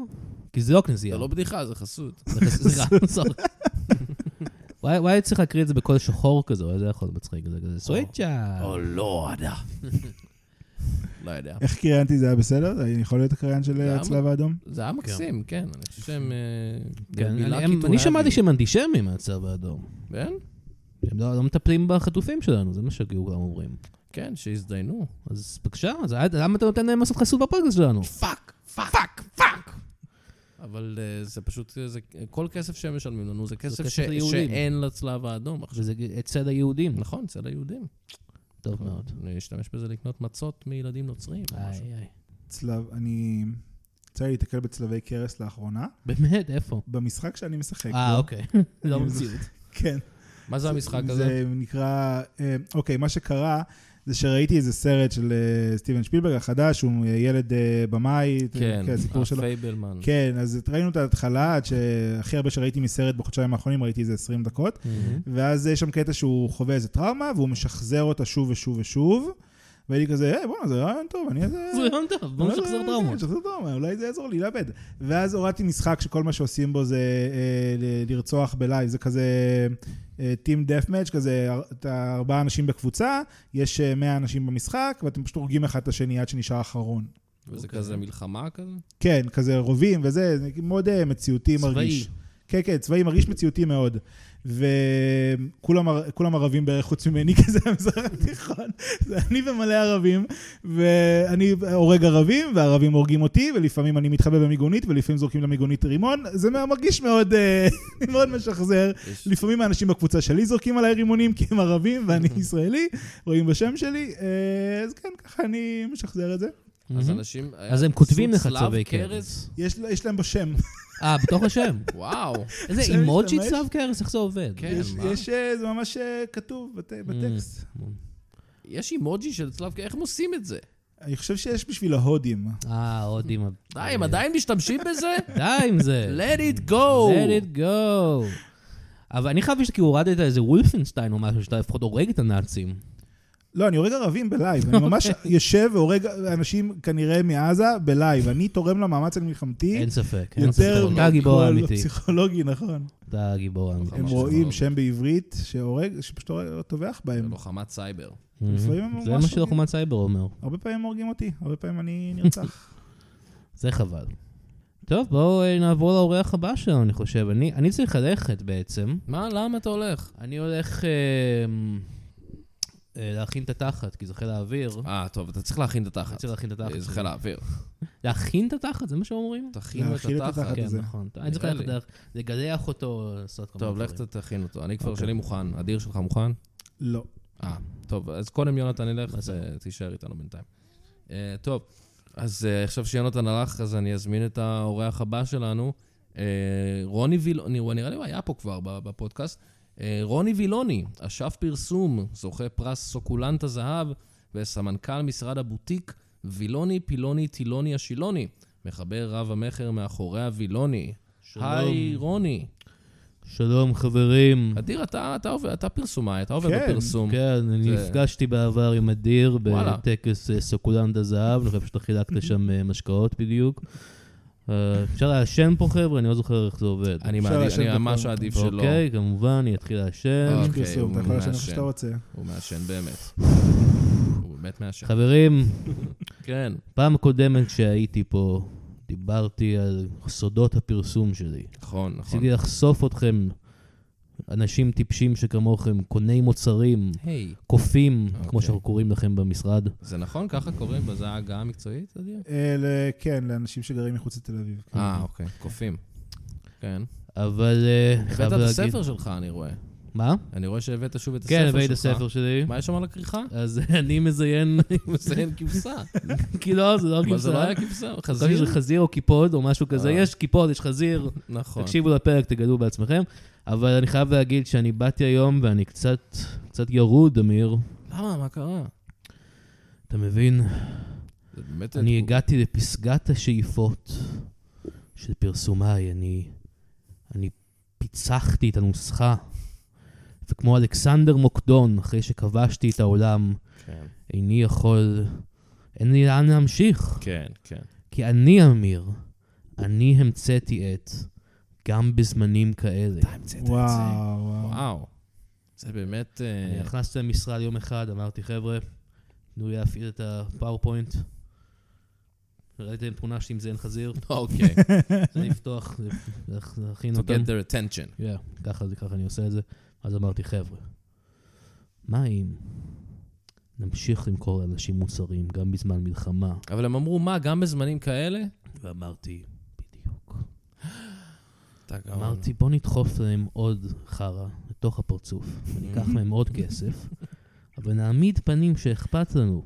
Speaker 2: כי זה לא כנסייה.
Speaker 1: זה לא בדיחה, זה חסות.
Speaker 2: זה חס- סליחה, סורי. וואי וואי, צריך להקריא את זה בקול שחור כזה, אבל זה יכול להיות מצחיק, זה כזה סוויצ'ה.
Speaker 3: אה.
Speaker 1: או לא,
Speaker 3: [LAUGHS]
Speaker 1: עדה. לא יודע.
Speaker 3: איך קריינתי זה היה בסדר? זה יכול להיות הקריין של
Speaker 1: למה?
Speaker 3: הצלב האדום?
Speaker 1: זה היה מקסים, כן. אני חושב שהם... אה,
Speaker 2: כן,
Speaker 1: גם מילה
Speaker 2: אני- הם- אני
Speaker 1: קיטורבי.
Speaker 2: שמעתי שהם אנטישמים מהצבא האדום.
Speaker 1: כן?
Speaker 2: שהם לא לא מטפלים בחטופים שלנו, זה מה שכאילו גם אומרים.
Speaker 1: כן, שהזדיינו.
Speaker 2: אז בבקשה, אז עד- למה אתה נותן להם לעשות חסות בפרקס שלנו?
Speaker 1: פאק, פאק, פאק, פאק. אבל אה, זה פשוט, אה, זה- כל כסף שהם משלמים לנו זה כסף ש-
Speaker 2: כסף ליהודים.
Speaker 1: שאין לצלב האדום. עכשיו,
Speaker 2: וזה אצל היהודים.
Speaker 1: נכון, אצל היהודים. נכון.
Speaker 2: טוב מאוד.
Speaker 1: אני אשתמש בזה לקנות מצות מילדים נוצרים. או משהו.
Speaker 2: איי, איי.
Speaker 3: צלב, אני... יצא לי להתקל בצלבי קרס לאחרונה,
Speaker 2: באמת, איפה?
Speaker 3: במשחק שאני משחק.
Speaker 2: אה,
Speaker 3: בו.
Speaker 2: אוקיי. לא מציאות.
Speaker 3: כן.
Speaker 1: מה זה המשחק הזה?
Speaker 3: זה נקרא, אה, אוקיי, מה שקרה זה שראיתי איזה סרט של אה, סטיבן שפילברג החדש, הוא ילד אה, במאי,
Speaker 1: כן,
Speaker 3: הסיפור שלו.
Speaker 1: הפייבלמן.
Speaker 3: כן, אז ראינו את ההתחלה, עד שהכי הרבה שראיתי מסרט בחודשיים האחרונים, ראיתי איזה 20 דקות,
Speaker 1: מהמם.
Speaker 3: ואז יש שם קטע שהוא חווה איזה טראומה, והוא משחזר אותה שוב ושוב ושוב, והייתי כזה, היי, בואנה, זה רעיון טוב, אני איזה...
Speaker 2: זה רעיון טוב, בואו
Speaker 3: אולי זה-
Speaker 2: נשחזר
Speaker 3: כן,
Speaker 2: טראומות.
Speaker 3: שחזר טראומה, אולי זה יעזור לי לאבד. ואז הורדתי משחק שכל מה שעושים בו זה אה, ל- לרצוח בלייב, זה כזה טים דף מאץ', כזה אר- אתה ארבעה אנשים בקבוצה, יש אה, 100 אנשים במשחק, ואתם פשוט הורגים אחד את השני עד שנשאר אחרון.
Speaker 1: וזה
Speaker 2: אוקיי.
Speaker 1: כזה מלחמה כזה?
Speaker 3: כן, כזה רובים וזה, זה מאוד אה, מציאותי
Speaker 2: צבאי.
Speaker 3: מרגיש. כן, כן, צבאי מרגיש מציאותי מאוד. וכולם ער- כולם ערבים בערך חוץ ממני, [LAUGHS] כי זה המזרח התיכון. זה אני ומלא ערבים, ואני הורג ערבים, והערבים הורגים אותי, ולפעמים אני מתחבא במיגונית, ולפעמים זורקים למיגונית רימון. זה מה- מרגיש מאוד, אה, [LAUGHS] מאוד משחזר.
Speaker 1: יש-
Speaker 3: לפעמים האנשים בקבוצה שלי זורקים עליי רימונים, כי הם ערבים ואני ישראלי, רואים בשם שלי. אה, אז כן, ככה אני משחזר את זה.
Speaker 1: אז
Speaker 2: מהמם.
Speaker 1: אנשים... היה
Speaker 2: אז הם כותבים לך
Speaker 1: צלב
Speaker 2: צלבי קרס.
Speaker 3: יש יש להם בשם.
Speaker 2: אה, בתוך השם.
Speaker 1: וואו. [LAUGHS]
Speaker 2: [LAUGHS] איזה
Speaker 3: אפשר
Speaker 2: אימוג'י
Speaker 3: להשתמש?
Speaker 2: צלב קרס, איך זה עובד?
Speaker 1: כן.
Speaker 3: יש,
Speaker 1: מה?
Speaker 3: יש, אה, זה ממש אה, כתוב בת- בטקסט.
Speaker 1: יש אימוג'י של צלב קרס, איך הם עושים את זה?
Speaker 3: אני חושב שיש בשביל ההודים.
Speaker 2: אה, עוד עם ה...
Speaker 1: די, הם עדיין משתמשים
Speaker 2: [LAUGHS]
Speaker 1: בזה?
Speaker 2: די עם זה.
Speaker 1: Let it go!
Speaker 2: let it go. אבל אני חייב שכאילו הורדת איזה וולפנשטיין או משהו, שאתה לפחות הורג את הנאצים.
Speaker 3: לא, אני הורג ערבים בלייב. אני ממש יושב והורג אנשים כנראה מעזה בלייב. אני תורם למאמץ המלחמתי
Speaker 2: אין ספק, אין ספק.
Speaker 3: יותר
Speaker 2: אתה הגיבור האמיתי.
Speaker 3: פסיכולוגי, נכון.
Speaker 2: אתה הגיבור האמיתי.
Speaker 3: הם
Speaker 1: ממש
Speaker 3: רואים
Speaker 1: פסיכולוגי. לא.
Speaker 3: שם בעברית שהורג, שפשוט הורג- טובח בהם.
Speaker 1: לוחמת סייבר.
Speaker 2: מהמם.
Speaker 3: לפעמים הם
Speaker 2: זה
Speaker 3: ממש
Speaker 2: מה שלוחמת סייבר אומר.
Speaker 3: הרבה פעמים הם הורגים אותי, הרבה פעמים אני נרצח.
Speaker 2: זה חבל. טוב, בואו אה, נעבור לאורח הבא שלנו, אני חושב. אני אני צריך ללכת בעצם.
Speaker 1: מה? למה אתה הולך?
Speaker 2: אני הולך אה, אה, להכין את התחת, כי זה חיל האוויר.
Speaker 1: אה, טוב, אתה צריך להכין את
Speaker 2: אני
Speaker 1: התחת.
Speaker 2: צריך להכין את התחת.
Speaker 1: זה חיל האוויר.
Speaker 2: להכין את התחת, זה מה שאומרים?
Speaker 1: תכינו
Speaker 3: להכיל
Speaker 1: את התחת.
Speaker 2: כן,
Speaker 3: הזה.
Speaker 2: נכון. אני צריך
Speaker 1: אה, נראה לי.
Speaker 2: ללכת דרך, לגלח אותו, לעשות כל
Speaker 1: טוב,
Speaker 2: מיני
Speaker 1: לך
Speaker 2: דברים.
Speaker 1: תכין אותו. אני כבר
Speaker 2: אוקיי.
Speaker 1: שלי מוכן. אדיר שלך מוכן?
Speaker 3: לא.
Speaker 1: אה, טוב, אז קודם יונתן ילך, אז אה, תישאר איתנו בינתיים. אה, טוב, אז אה, עכשיו שיונתן הלך, אז אני אזמין את האורח הבא שלנו, אה, רוני וילוני, הוא נראה לי הוא היה פה כבר ב- בפודקאסט. אה, רוני וילוני, אשף פרסום, זוכה פרס סוקולנט הזהב וסמנכ"ל משרד הבוטיק, וילוני פילוני טילוני השילוני, מחבר רב המכר מאחורי הווילוני.
Speaker 2: שלום.
Speaker 1: היי רוני,
Speaker 2: שלום חברים.
Speaker 1: אדיר, אתה, אתה, עובד, אתה פרסומאי, אתה עובד
Speaker 3: כן,
Speaker 1: בפרסום.
Speaker 2: כן, אני
Speaker 1: זה-
Speaker 2: נפגשתי בעבר עם אדיר
Speaker 1: וואלה.
Speaker 2: בטקס אה, סוקולנד הזהב, אני חושב שאתה
Speaker 1: [LAUGHS]
Speaker 2: חילקת שם אה, משקאות בדיוק. אה, אפשר לעשן פה, חבר'ה? אני לא זוכר איך זה עובד.
Speaker 1: אני
Speaker 3: אפשר
Speaker 1: מעדיף,
Speaker 3: לעשן
Speaker 1: אני
Speaker 3: בכל-
Speaker 1: ממש עדיף שלא.
Speaker 2: אוקיי, כמובן, אני אתחיל לעשן.
Speaker 1: אה.
Speaker 3: יש
Speaker 1: אוקיי,
Speaker 3: פרסום, אתה
Speaker 1: הוא
Speaker 3: יכול לשנות איך
Speaker 1: מעשן.
Speaker 3: שאתה רוצה.
Speaker 1: הוא מעשן באמת. הוא באמת מעשן.
Speaker 2: חברים,
Speaker 1: כן.
Speaker 2: פעם קודמת שהייתי פה, דיברתי על סודות הפרסום שלי.
Speaker 1: נכון, נכון.
Speaker 2: רציתי לחשוף אתכם, אנשים טיפשים שכמוכם, קוני מוצרים,
Speaker 1: היי.
Speaker 2: קופים,
Speaker 1: אוקיי.
Speaker 2: כמו שאנחנו קוראים לכם במשרד.
Speaker 1: זה נכון? ככה קוראים בזה ההגה המקצועית, אדיר?
Speaker 3: אה, ל- כן, לאנשים שגרים מחוץ לתל אביב. כן.
Speaker 1: אה, אוקיי. קופים. כן.
Speaker 2: אבל אה, אני
Speaker 1: הבאת
Speaker 2: חייב
Speaker 1: את
Speaker 2: להגיד...
Speaker 1: הספר שלך, אני רואה.
Speaker 2: מה?
Speaker 1: אני רואה שהבאת שוב את הספר שלך.
Speaker 2: כן, הבאתי את הספר שלי.
Speaker 1: מה יש שם על הכריכה?
Speaker 2: [LAUGHS] אז אני מזיין, [LAUGHS]
Speaker 1: מזיין כבשה.
Speaker 2: כי לא, זה לא
Speaker 1: אבל זה לא
Speaker 2: הגרסה.
Speaker 1: היה כבשה,
Speaker 2: חשבתי
Speaker 1: חזיר.
Speaker 2: שזה חזיר או קיפוד או משהו כזה.
Speaker 1: אה.
Speaker 2: יש קיפוד, יש חזיר.
Speaker 1: נכון.
Speaker 2: תקשיבו לפרק, תגלו בעצמכם. אבל אני חייב להגיד שאני באתי היום ואני קצת, קצת ירוד, אמיר.
Speaker 1: למה? מה קרה?
Speaker 2: אתה מבין?
Speaker 1: זה באמת...
Speaker 2: אני הגעתי לפסגת השאיפות של פרסומיי. אני, אני פיצחתי את הנוסחה. וכמו אלכסנדר מוקדון, אחרי שכבשתי את העולם,
Speaker 1: כן,
Speaker 2: איני יכול... אין לי לאן להמשיך.
Speaker 1: כן, כן.
Speaker 2: כי אני, אמיר, אני המצאתי את גם בזמנים כאלה.
Speaker 3: וואו, וואו.
Speaker 1: וואו. זה באמת... אה,
Speaker 2: אני נכנסתי למשרד יום אחד, אמרתי, חבר'ה, תנו לי להפעיל את הפאורפוינט. ראיתם תמונה שלי עם זן חזיר?
Speaker 1: [LAUGHS] אוקיי.
Speaker 2: זה לפתוח, זה זה להכין
Speaker 1: To
Speaker 2: אותם.
Speaker 1: get their attention.
Speaker 2: כן, ככה זה, ככה אני עושה את זה. אז אמרתי, חבר'ה, מה אם נמשיך למכור לאנשים מוצרים גם בזמן מלחמה?
Speaker 1: אבל הם אמרו, מה, גם בזמנים כאלה?
Speaker 2: ואמרתי, בדיוק.
Speaker 1: אתה גאון.
Speaker 2: אמרתי, בוא נדחוף להם עוד חרא לתוך הפרצוף, [LAUGHS] וניקח מהם עוד כסף, אבל נעמיד פנים שאכפת לנו.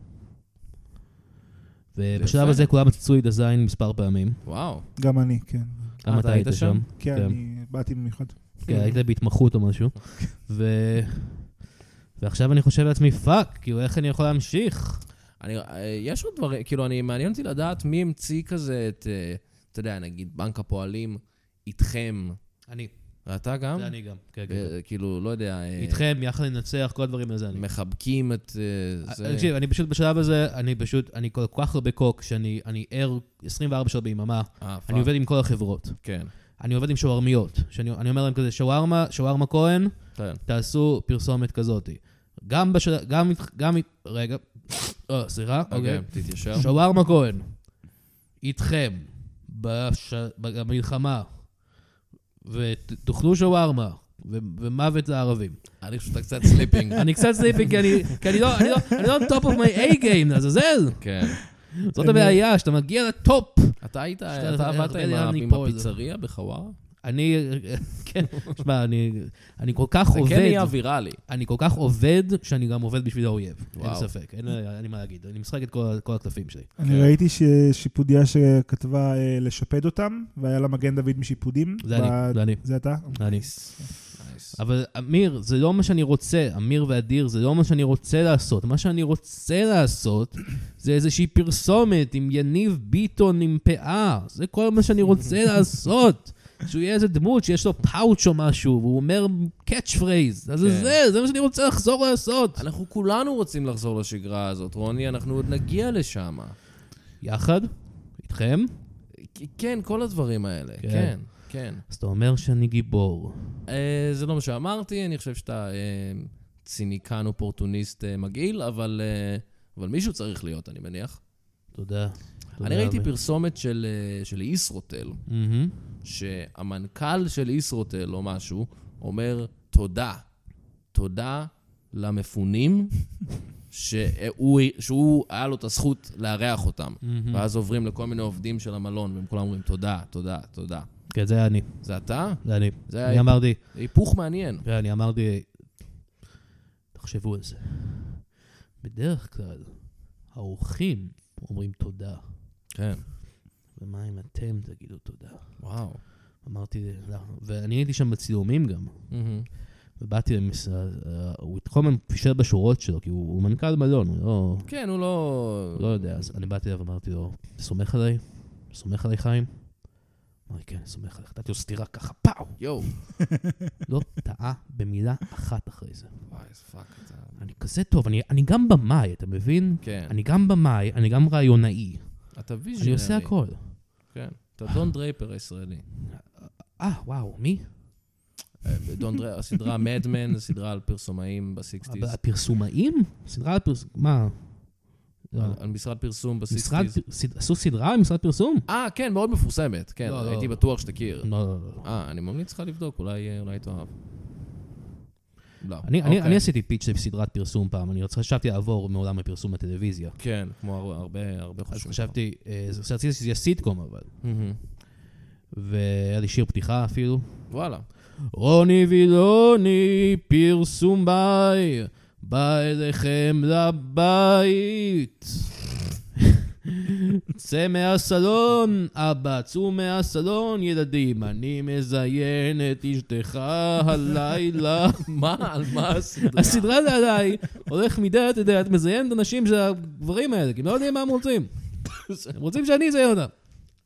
Speaker 2: ובשלב
Speaker 1: יפה.
Speaker 2: הזה כולם עשו לי דזיין מספר פעמים.
Speaker 1: וואו.
Speaker 3: גם אני, כן.
Speaker 2: גם אה, אתה היית שם.
Speaker 3: כן,
Speaker 2: כן.
Speaker 3: אני באתי במיוחד.
Speaker 2: כן, היית בהתמחות או משהו. ו... ועכשיו אני חושב לעצמי, פאק, כאילו, איך אני יכול להמשיך?
Speaker 1: אני, אה, יש עוד דברים, כאילו, אני, מעניין אותי לדעת מי המציא כזה את, אה, אתה יודע, נגיד, בנק הפועלים איתכם.
Speaker 2: אני.
Speaker 1: ואתה גם?
Speaker 2: זה אני גם. כן, כן.
Speaker 1: אה, כאילו, לא יודע, אה,
Speaker 2: איתכם, יחד ננצח, כל הדברים האלה זה אני.
Speaker 1: מחבקים את אה, זה.
Speaker 2: תקשיב, אני פשוט בשלב הזה, אני פשוט, אני כל כך הרבה קוק, שאני אני ער 24 שעות ביממה.
Speaker 1: אה, פאק.
Speaker 2: אני עובד עם כל החברות.
Speaker 1: כן,
Speaker 2: אני עובד עם שווארמיות. שאני אני אומר להם כזה, שווארמה, שווארמה כהן,
Speaker 1: כן.
Speaker 2: תעשו פרסומת כזאתי. גם בשל... גם... גם... רגע. אה, סליחה,
Speaker 1: אוקיי,
Speaker 2: אוקיי.
Speaker 1: תתיישר.
Speaker 2: שווארמה כהן, איתכם, בש... במלחמה, ותאכלו שווארמה, ו... ומוות לערבים.
Speaker 1: אני חושב שאתה קצת סליפינג.
Speaker 2: [LAUGHS] אני קצת סליפי, כי אני, כי אני לא, אני לא, אני לא on top of my A-game, לעזאזל.
Speaker 1: כן.
Speaker 2: זאת הבעיה, שאתה מגיע לטופ.
Speaker 1: אתה היית,
Speaker 2: שאתה-
Speaker 1: אתה עבדת
Speaker 2: הרבה
Speaker 1: עם ה-
Speaker 2: לאן
Speaker 1: עם
Speaker 2: ליפול.
Speaker 1: הפיצריה בחווארה?
Speaker 2: אני, כן, שמע, אני, אני כל כך
Speaker 1: זה כן
Speaker 2: עובד,
Speaker 1: נהיה ויראלי.
Speaker 2: אני כל כך עובד, שאני גם עובד בשביל האויב. אין
Speaker 1: וואו.
Speaker 2: ספק, אין לי- אין לי מה להגיד. אני משחק את כל ה- כל הקלפים שלי.
Speaker 3: אני ראיתי ששיפודיה שכתבה אה, לשפד אותם, והיה לה מגן דוד משיפודים.
Speaker 2: זה אני,
Speaker 3: ב-
Speaker 2: זה אני.
Speaker 3: זה אתה?
Speaker 2: אני.
Speaker 1: נייס.
Speaker 2: אבל אמיר, זה לא מה שאני רוצה, אמיר ואדיר, זה לא מה שאני רוצה לעשות. מה שאני רוצה לעשות זה איזושהי פרסומת עם יניב ביטון עם פאה. זה כל מה שאני רוצה לעשות. שהוא יהיה איזה דמות שיש לו פאוץ' או משהו, והוא אומר קאץ' פרייז. אז
Speaker 1: כן.
Speaker 2: זה, זה מה שאני רוצה לחזור לעשות.
Speaker 1: אנחנו כולנו רוצים לחזור לשגרה הזאת, רוני, אנחנו עוד נגיע לשם.
Speaker 2: יחד? איתכם?
Speaker 1: כן, כל הדברים האלה,
Speaker 2: כן.
Speaker 1: כן, כן.
Speaker 2: אז אתה אומר שאני גיבור.
Speaker 1: אה, זה לא מה שאמרתי, אני חושב שאתה אה, ציניקן אופורטוניסט אה, מגעיל, אבל, אה, אבל מישהו צריך להיות, אני מניח.
Speaker 2: תודה. תודה,
Speaker 1: אני ראיתי
Speaker 2: אמיר.
Speaker 1: פרסומת של, אה, של ישרוטל,
Speaker 2: מהמם.
Speaker 1: שהמנכ"ל של ישרוטל או משהו אומר תודה, תודה
Speaker 2: [LAUGHS]
Speaker 1: למפונים, שהוא, שהוא היה לו את הזכות לארח אותם.
Speaker 2: מהמם.
Speaker 1: ואז עוברים לכל מיני עובדים של המלון, והם כולם אומרים תודה, תודה, תודה.
Speaker 2: כן, זה אני.
Speaker 1: זה אתה?
Speaker 2: זה אני.
Speaker 1: זה
Speaker 2: אני
Speaker 1: היה
Speaker 2: אמרתי,
Speaker 1: היפוך מעניין.
Speaker 2: כן, אני אמרתי, תחשבו על זה. בדרך כלל, האורחים אומרים תודה,
Speaker 1: כן,
Speaker 2: ומה אם אתם תגידו תודה?
Speaker 1: וואו.
Speaker 2: אמרתי, לא. ואני הייתי שם בצילומים גם,
Speaker 1: מהמם.
Speaker 2: ובאתי למשרד, אה, הוא כל הזמן פישל בשורות שלו, כי הוא הוא מנכ"ל מלון, הוא לא,
Speaker 1: כן, הוא לא...
Speaker 2: הוא לא יודע, אז אני באתי אליו ואמרתי לו, אתה סומך עליי? אתה סומך עליי, חיים? אמר לי, כן, אני סומך עליך, נתתי לו סטירה ככה, פאו!
Speaker 1: יואו.
Speaker 2: לא טעה במילה אחת אחרי זה.
Speaker 1: וואי, איזה פאק אתה.
Speaker 2: אני כזה טוב, אני, אני גם במאי, אתה מבין?
Speaker 1: כן.
Speaker 2: אני גם במאי, אני גם רעיונאי.
Speaker 1: אתה ויז'נרי.
Speaker 2: אני עושה הכל.
Speaker 1: כן. אתה דון דרייפר הישראלי.
Speaker 2: אה, וואו, מי?
Speaker 1: אה, דון דרייפר, הסדרה מדמן, זו סדרה על פרסומאים בסיקסטיז.
Speaker 2: הפרסומאים? סדרה על פרסום... מה? לא.
Speaker 1: על על משרד פרסום
Speaker 2: משרד...
Speaker 1: בסיקסטיז.
Speaker 2: פר- סד- עשו סדרה על משרד פרסום?
Speaker 1: אה, כן, מאוד מפורסמת. כן,
Speaker 2: לא, לא.
Speaker 1: הייתי בטוח שתכיר.
Speaker 2: לא, לא, לא.
Speaker 1: אה, אני ממליץ לך לבדוק, אולי אה, אולי תאהב. לא.
Speaker 2: אני, אני,
Speaker 1: אוקיי.
Speaker 2: אני עשיתי פיץ' בסדרת פרסום פעם, אני רוצה- חשבתי לעבור מעולם הפרסום לטלוויזיה.
Speaker 1: כן, כמו הר- הרבה הרבה
Speaker 2: אז
Speaker 1: חושבים.
Speaker 2: חשבתי, אה, זה- רציתי שזה יהיה סיטקום אבל. [LAUGHS]
Speaker 1: מהמם.
Speaker 2: והיה לי שיר פתיחה אפילו.
Speaker 1: וואלה.
Speaker 2: רוני וילוני, פרסום ביי, בא אליכם לבית. צא מהסלון, אבא, צאו מהסלון, ילדים, אני מזיין את אשתך הלילה.
Speaker 1: מה, על מה הסדרה?
Speaker 2: הסדרה זה עליי, הולך מדלת לדלת, מזיין את הנשים של הגברים האלה, כי הם לא יודעים מה הם רוצים. הם רוצים שאני אזיין אותם.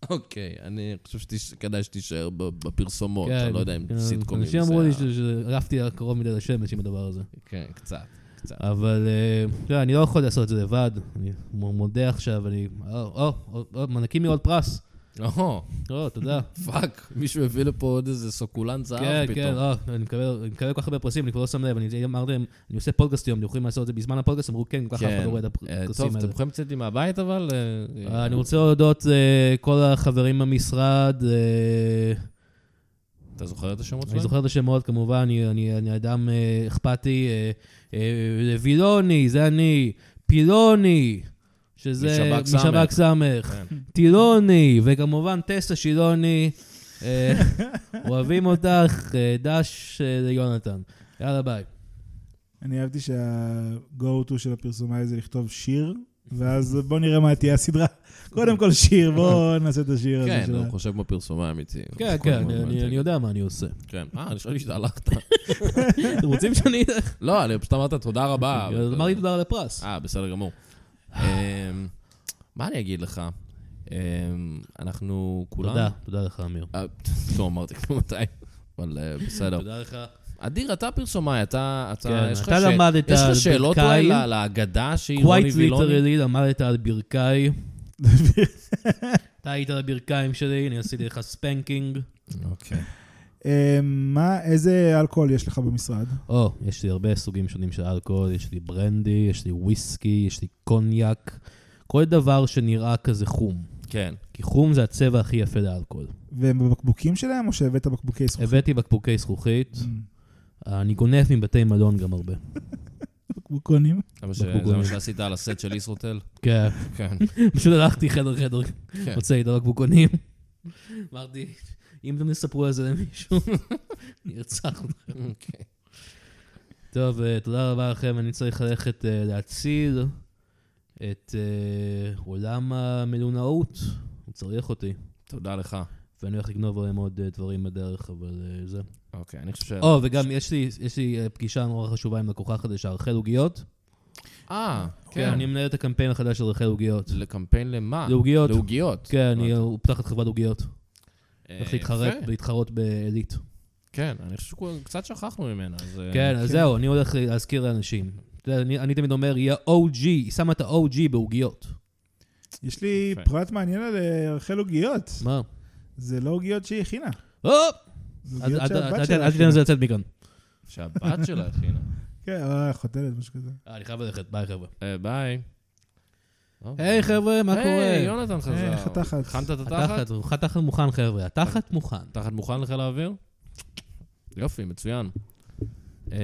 Speaker 1: אוקיי, אני חושב שכדאי שתישאר ב- בפרסומות,
Speaker 2: כן,
Speaker 1: אני לא יודע אם
Speaker 2: כן,
Speaker 1: סיטקומים זה...
Speaker 2: אנשים אמרו לי
Speaker 1: ה-
Speaker 2: ש- שערפתי קרוב מדי לשמש עם הדבר הזה.
Speaker 1: כן, קצת, קצת.
Speaker 2: אבל אה, אתה יודע, אני לא יכול לעשות את זה לבד, אני מ- מודה עכשיו, אני... אה, או, או, או, או, מעניקים לי עוד פרס. לא,
Speaker 1: אוהו,
Speaker 2: או, תודה.
Speaker 1: פאק, מישהו הביא לפה עוד איזה סוקולן זהב
Speaker 2: כן,
Speaker 1: אה, פתאום.
Speaker 2: כן, לא, אני מקבל אני מקבל כל כך הרבה פרסים, אני כבר לא שם לב, אני אמרתי להם, אני עושה פודקאסט היום, אתם יכולים לעשות את זה בזמן הפודקאסט, אמרו כן, כל כך אף אחד לא רואה את
Speaker 1: אה,
Speaker 2: הפודקאסטים
Speaker 1: טוב,
Speaker 2: האלה.
Speaker 1: אתם יכולים לצאת לי מהבית אבל? אה,
Speaker 2: אה, אני רוצה להודות אה, כל החברים במשרד, אה,
Speaker 1: אתה זוכר את השמות שלהם?
Speaker 2: אני זוכר את השמות כמובן, אני- אני אני אדם אה, אכפתי, אה, אה, וילוני, זה אני, פילוני, שזה
Speaker 1: משב"כ סמך.
Speaker 2: משב"כ סמך,
Speaker 1: כן.
Speaker 2: טילוני, וכמובן טסה שילוני, אה,
Speaker 1: [LAUGHS]
Speaker 2: אוהבים אותך, אה, דש אה, ליונתן. יאללה ביי.
Speaker 3: אני אהבתי שה-go to של הפרסומאי זה לכתוב
Speaker 2: [LAUGHS]
Speaker 3: שיר, ואז בוא נראה מה תהיה הסדרה. קודם כל
Speaker 2: [LAUGHS]
Speaker 3: שיר, בואו נעשה את השיר הזה
Speaker 1: כן,
Speaker 2: לא
Speaker 3: של
Speaker 1: הוא חושב בפרסומי האמיתי.
Speaker 2: כן,
Speaker 1: כל
Speaker 2: כן,
Speaker 1: הזמן
Speaker 2: אני-
Speaker 1: מעניין.
Speaker 2: אני יודע מה אני
Speaker 1: [LAUGHS]
Speaker 2: עושה.
Speaker 1: כן. אה, אני חשבתי שהלכת.
Speaker 2: אתם רוצים שאני אלך?
Speaker 1: לא, אני פשוט אמרת תודה רבה.
Speaker 2: [LAUGHS] אז אמרתי תודה על הפרס.
Speaker 1: אה, בסדר
Speaker 2: [SIGHS]
Speaker 1: גמור. אמ, מה אני אגיד לך? אמ, אנחנו כולם...
Speaker 2: תודה, תודה לך, אמיר.
Speaker 1: אה, לא אמרתי כבר מתי, אבל אה, בסדר.
Speaker 2: תודה לך.
Speaker 1: אדיר, אתה פרסומאי, אתה...
Speaker 2: כן,
Speaker 1: יש לך
Speaker 2: אתה
Speaker 1: ש-
Speaker 2: למדת
Speaker 1: יש
Speaker 2: על
Speaker 1: לך שאלות
Speaker 2: ברכיים?
Speaker 1: אולי על ההגדה שהיא רוני
Speaker 2: quite
Speaker 1: וילוני?
Speaker 2: literally למדת על [LAUGHS] ברכיי. אתה היית על הברכיים שלי, אני עשיתי לך ספנקינג.
Speaker 1: אוקיי.
Speaker 3: אה, מה, איזה אלכוהול יש לך במשרד?
Speaker 2: או, יש לי הרבה סוגים שונים של אלכוהול, יש לי ברנדי, יש לי וויסקי, יש לי קוניאק. כל דבר שנראה כזה חום.
Speaker 1: כן.
Speaker 2: כי חום זה הצבע הכי יפה לאלכוהול.
Speaker 3: והם בבקבוקים שלהם, או שהבאת בקבוקי זכוכית?
Speaker 2: הבאתי בקבוקי זכוכית, אני גונב מבתי מלון גם הרבה.
Speaker 3: בקבוקונים.
Speaker 1: זה מה ש- זה
Speaker 2: בקבוקונים.
Speaker 1: מה שעשית על הסט של ישרוטל?
Speaker 2: כן,
Speaker 1: כן.
Speaker 2: [LAUGHS] פשוט הלכתי חדר חדר,
Speaker 1: כן.
Speaker 2: הוצאתי את הבקבוקונים. אמרתי, אם אתם תספרו על זה [LAUGHS] למישהו, אני ארצח אותך.
Speaker 1: אוקיי.
Speaker 2: טוב, אה, תודה רבה לכם. אני צריך ללכת אה, להציל את אה, עולם המלונאות. הוא צריך אותי.
Speaker 1: תודה לך.
Speaker 2: ואני הולך לגנוב עליהם עוד אה, דברים בדרך, אבל אה, זה.
Speaker 1: אוקיי, אני חושב ש...
Speaker 2: או, וגם יש לי- יש לי אה, פגישה נורא חשובה עם לקוחה חדשה, רחל עוגיות.
Speaker 1: אה, כן.
Speaker 2: כן. אני מנהל את הקמפיין החדש של רחל עוגיות.
Speaker 1: לקמפיין למה?
Speaker 2: לעוגיות.
Speaker 1: לעוגיות.
Speaker 2: כן,
Speaker 1: הבנתי.
Speaker 2: אני אה, פותחת חברת עוגיות.
Speaker 1: אה,
Speaker 2: הולך
Speaker 1: יפה.
Speaker 2: להתחרט- להתחרות באליט.
Speaker 1: כן, אני חושב שקצת שכחנו ממנה, אז... אה,
Speaker 2: אה, כן, אז זהו, אני הולך להזכיר לאנשים. אתה יודע, אני- אני תמיד אומר, יהיה OG, היא שמה את ה-OG בעוגיות.
Speaker 3: יש לי
Speaker 1: יפה.
Speaker 3: פרט מעניין על אה, רחל עוגיות.
Speaker 2: מה?
Speaker 3: זה לא עוגיות שהיא הכינה.
Speaker 2: הופ!
Speaker 3: זה
Speaker 2: אל-
Speaker 3: עוגיות
Speaker 2: אל-
Speaker 3: שהבת
Speaker 2: אל
Speaker 3: שלה
Speaker 2: תיתן- אל תיתן
Speaker 3: הכינה.
Speaker 2: לזה לצאת מכאן.
Speaker 1: שהבת שלה הכינה.
Speaker 3: כן, אה, חותלת, משהו כזה.
Speaker 2: אה, אני חייב ללכת, ביי חבר'ה.
Speaker 1: אה, ביי. אוקיי.
Speaker 2: היי חבר'ה, מה
Speaker 1: היי,
Speaker 2: קורה?
Speaker 1: יונתן חזר.
Speaker 3: היי, חתכת.
Speaker 1: הכנת את התחת?
Speaker 2: התחת, התחת מוכן חבר'ה, התחת מוכן.
Speaker 1: תחת מוכן לחיל האוויר? יופי, מצוין. אמ,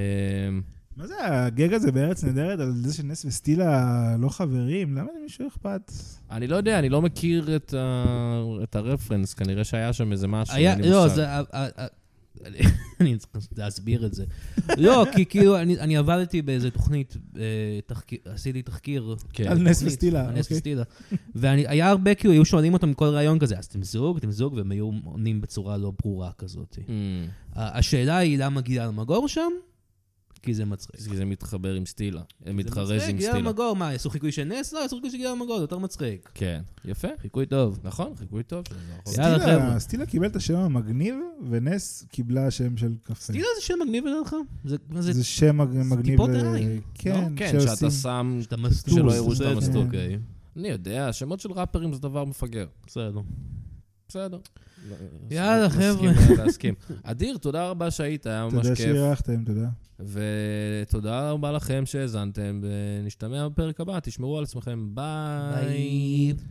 Speaker 3: מה זה הגג הזה בארץ נהדרת על זה שנס וסטילה לא חברים? למה למישהו אכפת?
Speaker 1: אני לא יודע, אני לא מכיר את ה- את הרפרנס, כנראה שהיה שם איזה משהו.
Speaker 2: היה,
Speaker 1: אין לי
Speaker 2: לא,
Speaker 1: מושג.
Speaker 2: זה... ה- ה- ה- אני [LAUGHS] צריך להסביר את זה. לא, כי כאילו, אני אני עבדתי באיזה תוכנית, אה, תחקיר- עשיתי תחקיר.
Speaker 1: כן.
Speaker 3: על נס
Speaker 2: תוכנית,
Speaker 3: וסטילה,
Speaker 2: על נס
Speaker 3: אוקיי.
Speaker 2: וסטילה. והיה הרבה, כאילו, היו שואלים אותם כל ראיון כזה, אז אתם זוג, אתם זוג, והם היו עונים בצורה לא ברורה כזאת.
Speaker 1: אמ,
Speaker 2: ה- השאלה היא למה גילה אלמגור שם? כי זה מצחיק.
Speaker 1: כי זה מתחבר עם סטילה.
Speaker 2: זה
Speaker 1: מתחרז
Speaker 2: מצחיק,
Speaker 1: עם
Speaker 2: גלעד
Speaker 1: סטילה.
Speaker 2: מגור, מה, יעשו חיקוי של נס? לא, יעשו חיקוי של גלעד מגור, זה יותר מצחיק.
Speaker 1: כן. יפה.
Speaker 2: חיקוי טוב.
Speaker 1: נכון, חיקוי טוב. של זרחוב.
Speaker 2: יאללה, חבר'ה.
Speaker 3: סטילה, סטילה קיבל את השם המגניב, ונס קיבלה שם של קפה.
Speaker 2: סטילה זה שם מגניב לדעתך? זה- זה
Speaker 3: זה שם מג-
Speaker 2: זה
Speaker 3: מגניב.
Speaker 2: טיפות
Speaker 3: ל-
Speaker 2: עין,
Speaker 3: כן,
Speaker 1: לא? כן,
Speaker 3: שעושים-
Speaker 1: שאתה שם...
Speaker 2: שאתה מסטוס.
Speaker 1: שלא יראו שאתה
Speaker 2: בסדר,
Speaker 1: מסטוס.
Speaker 2: אוקיי,
Speaker 1: אני יודע, שמות של ראפרים זה דבר מפגר.
Speaker 2: בסדר.
Speaker 1: בסדר.
Speaker 2: יאללה,
Speaker 1: נסכים
Speaker 2: חבר'ה.
Speaker 1: להסכים. אדיר, תודה רבה שהיית, היה ממש
Speaker 3: תודה
Speaker 1: כיף.
Speaker 3: שאירחתם, תודה.
Speaker 1: ותודה רבה לכם שהאזנתם, ונשתמע בפרק הבא, תשמרו על עצמכם, ביי.
Speaker 2: ביי.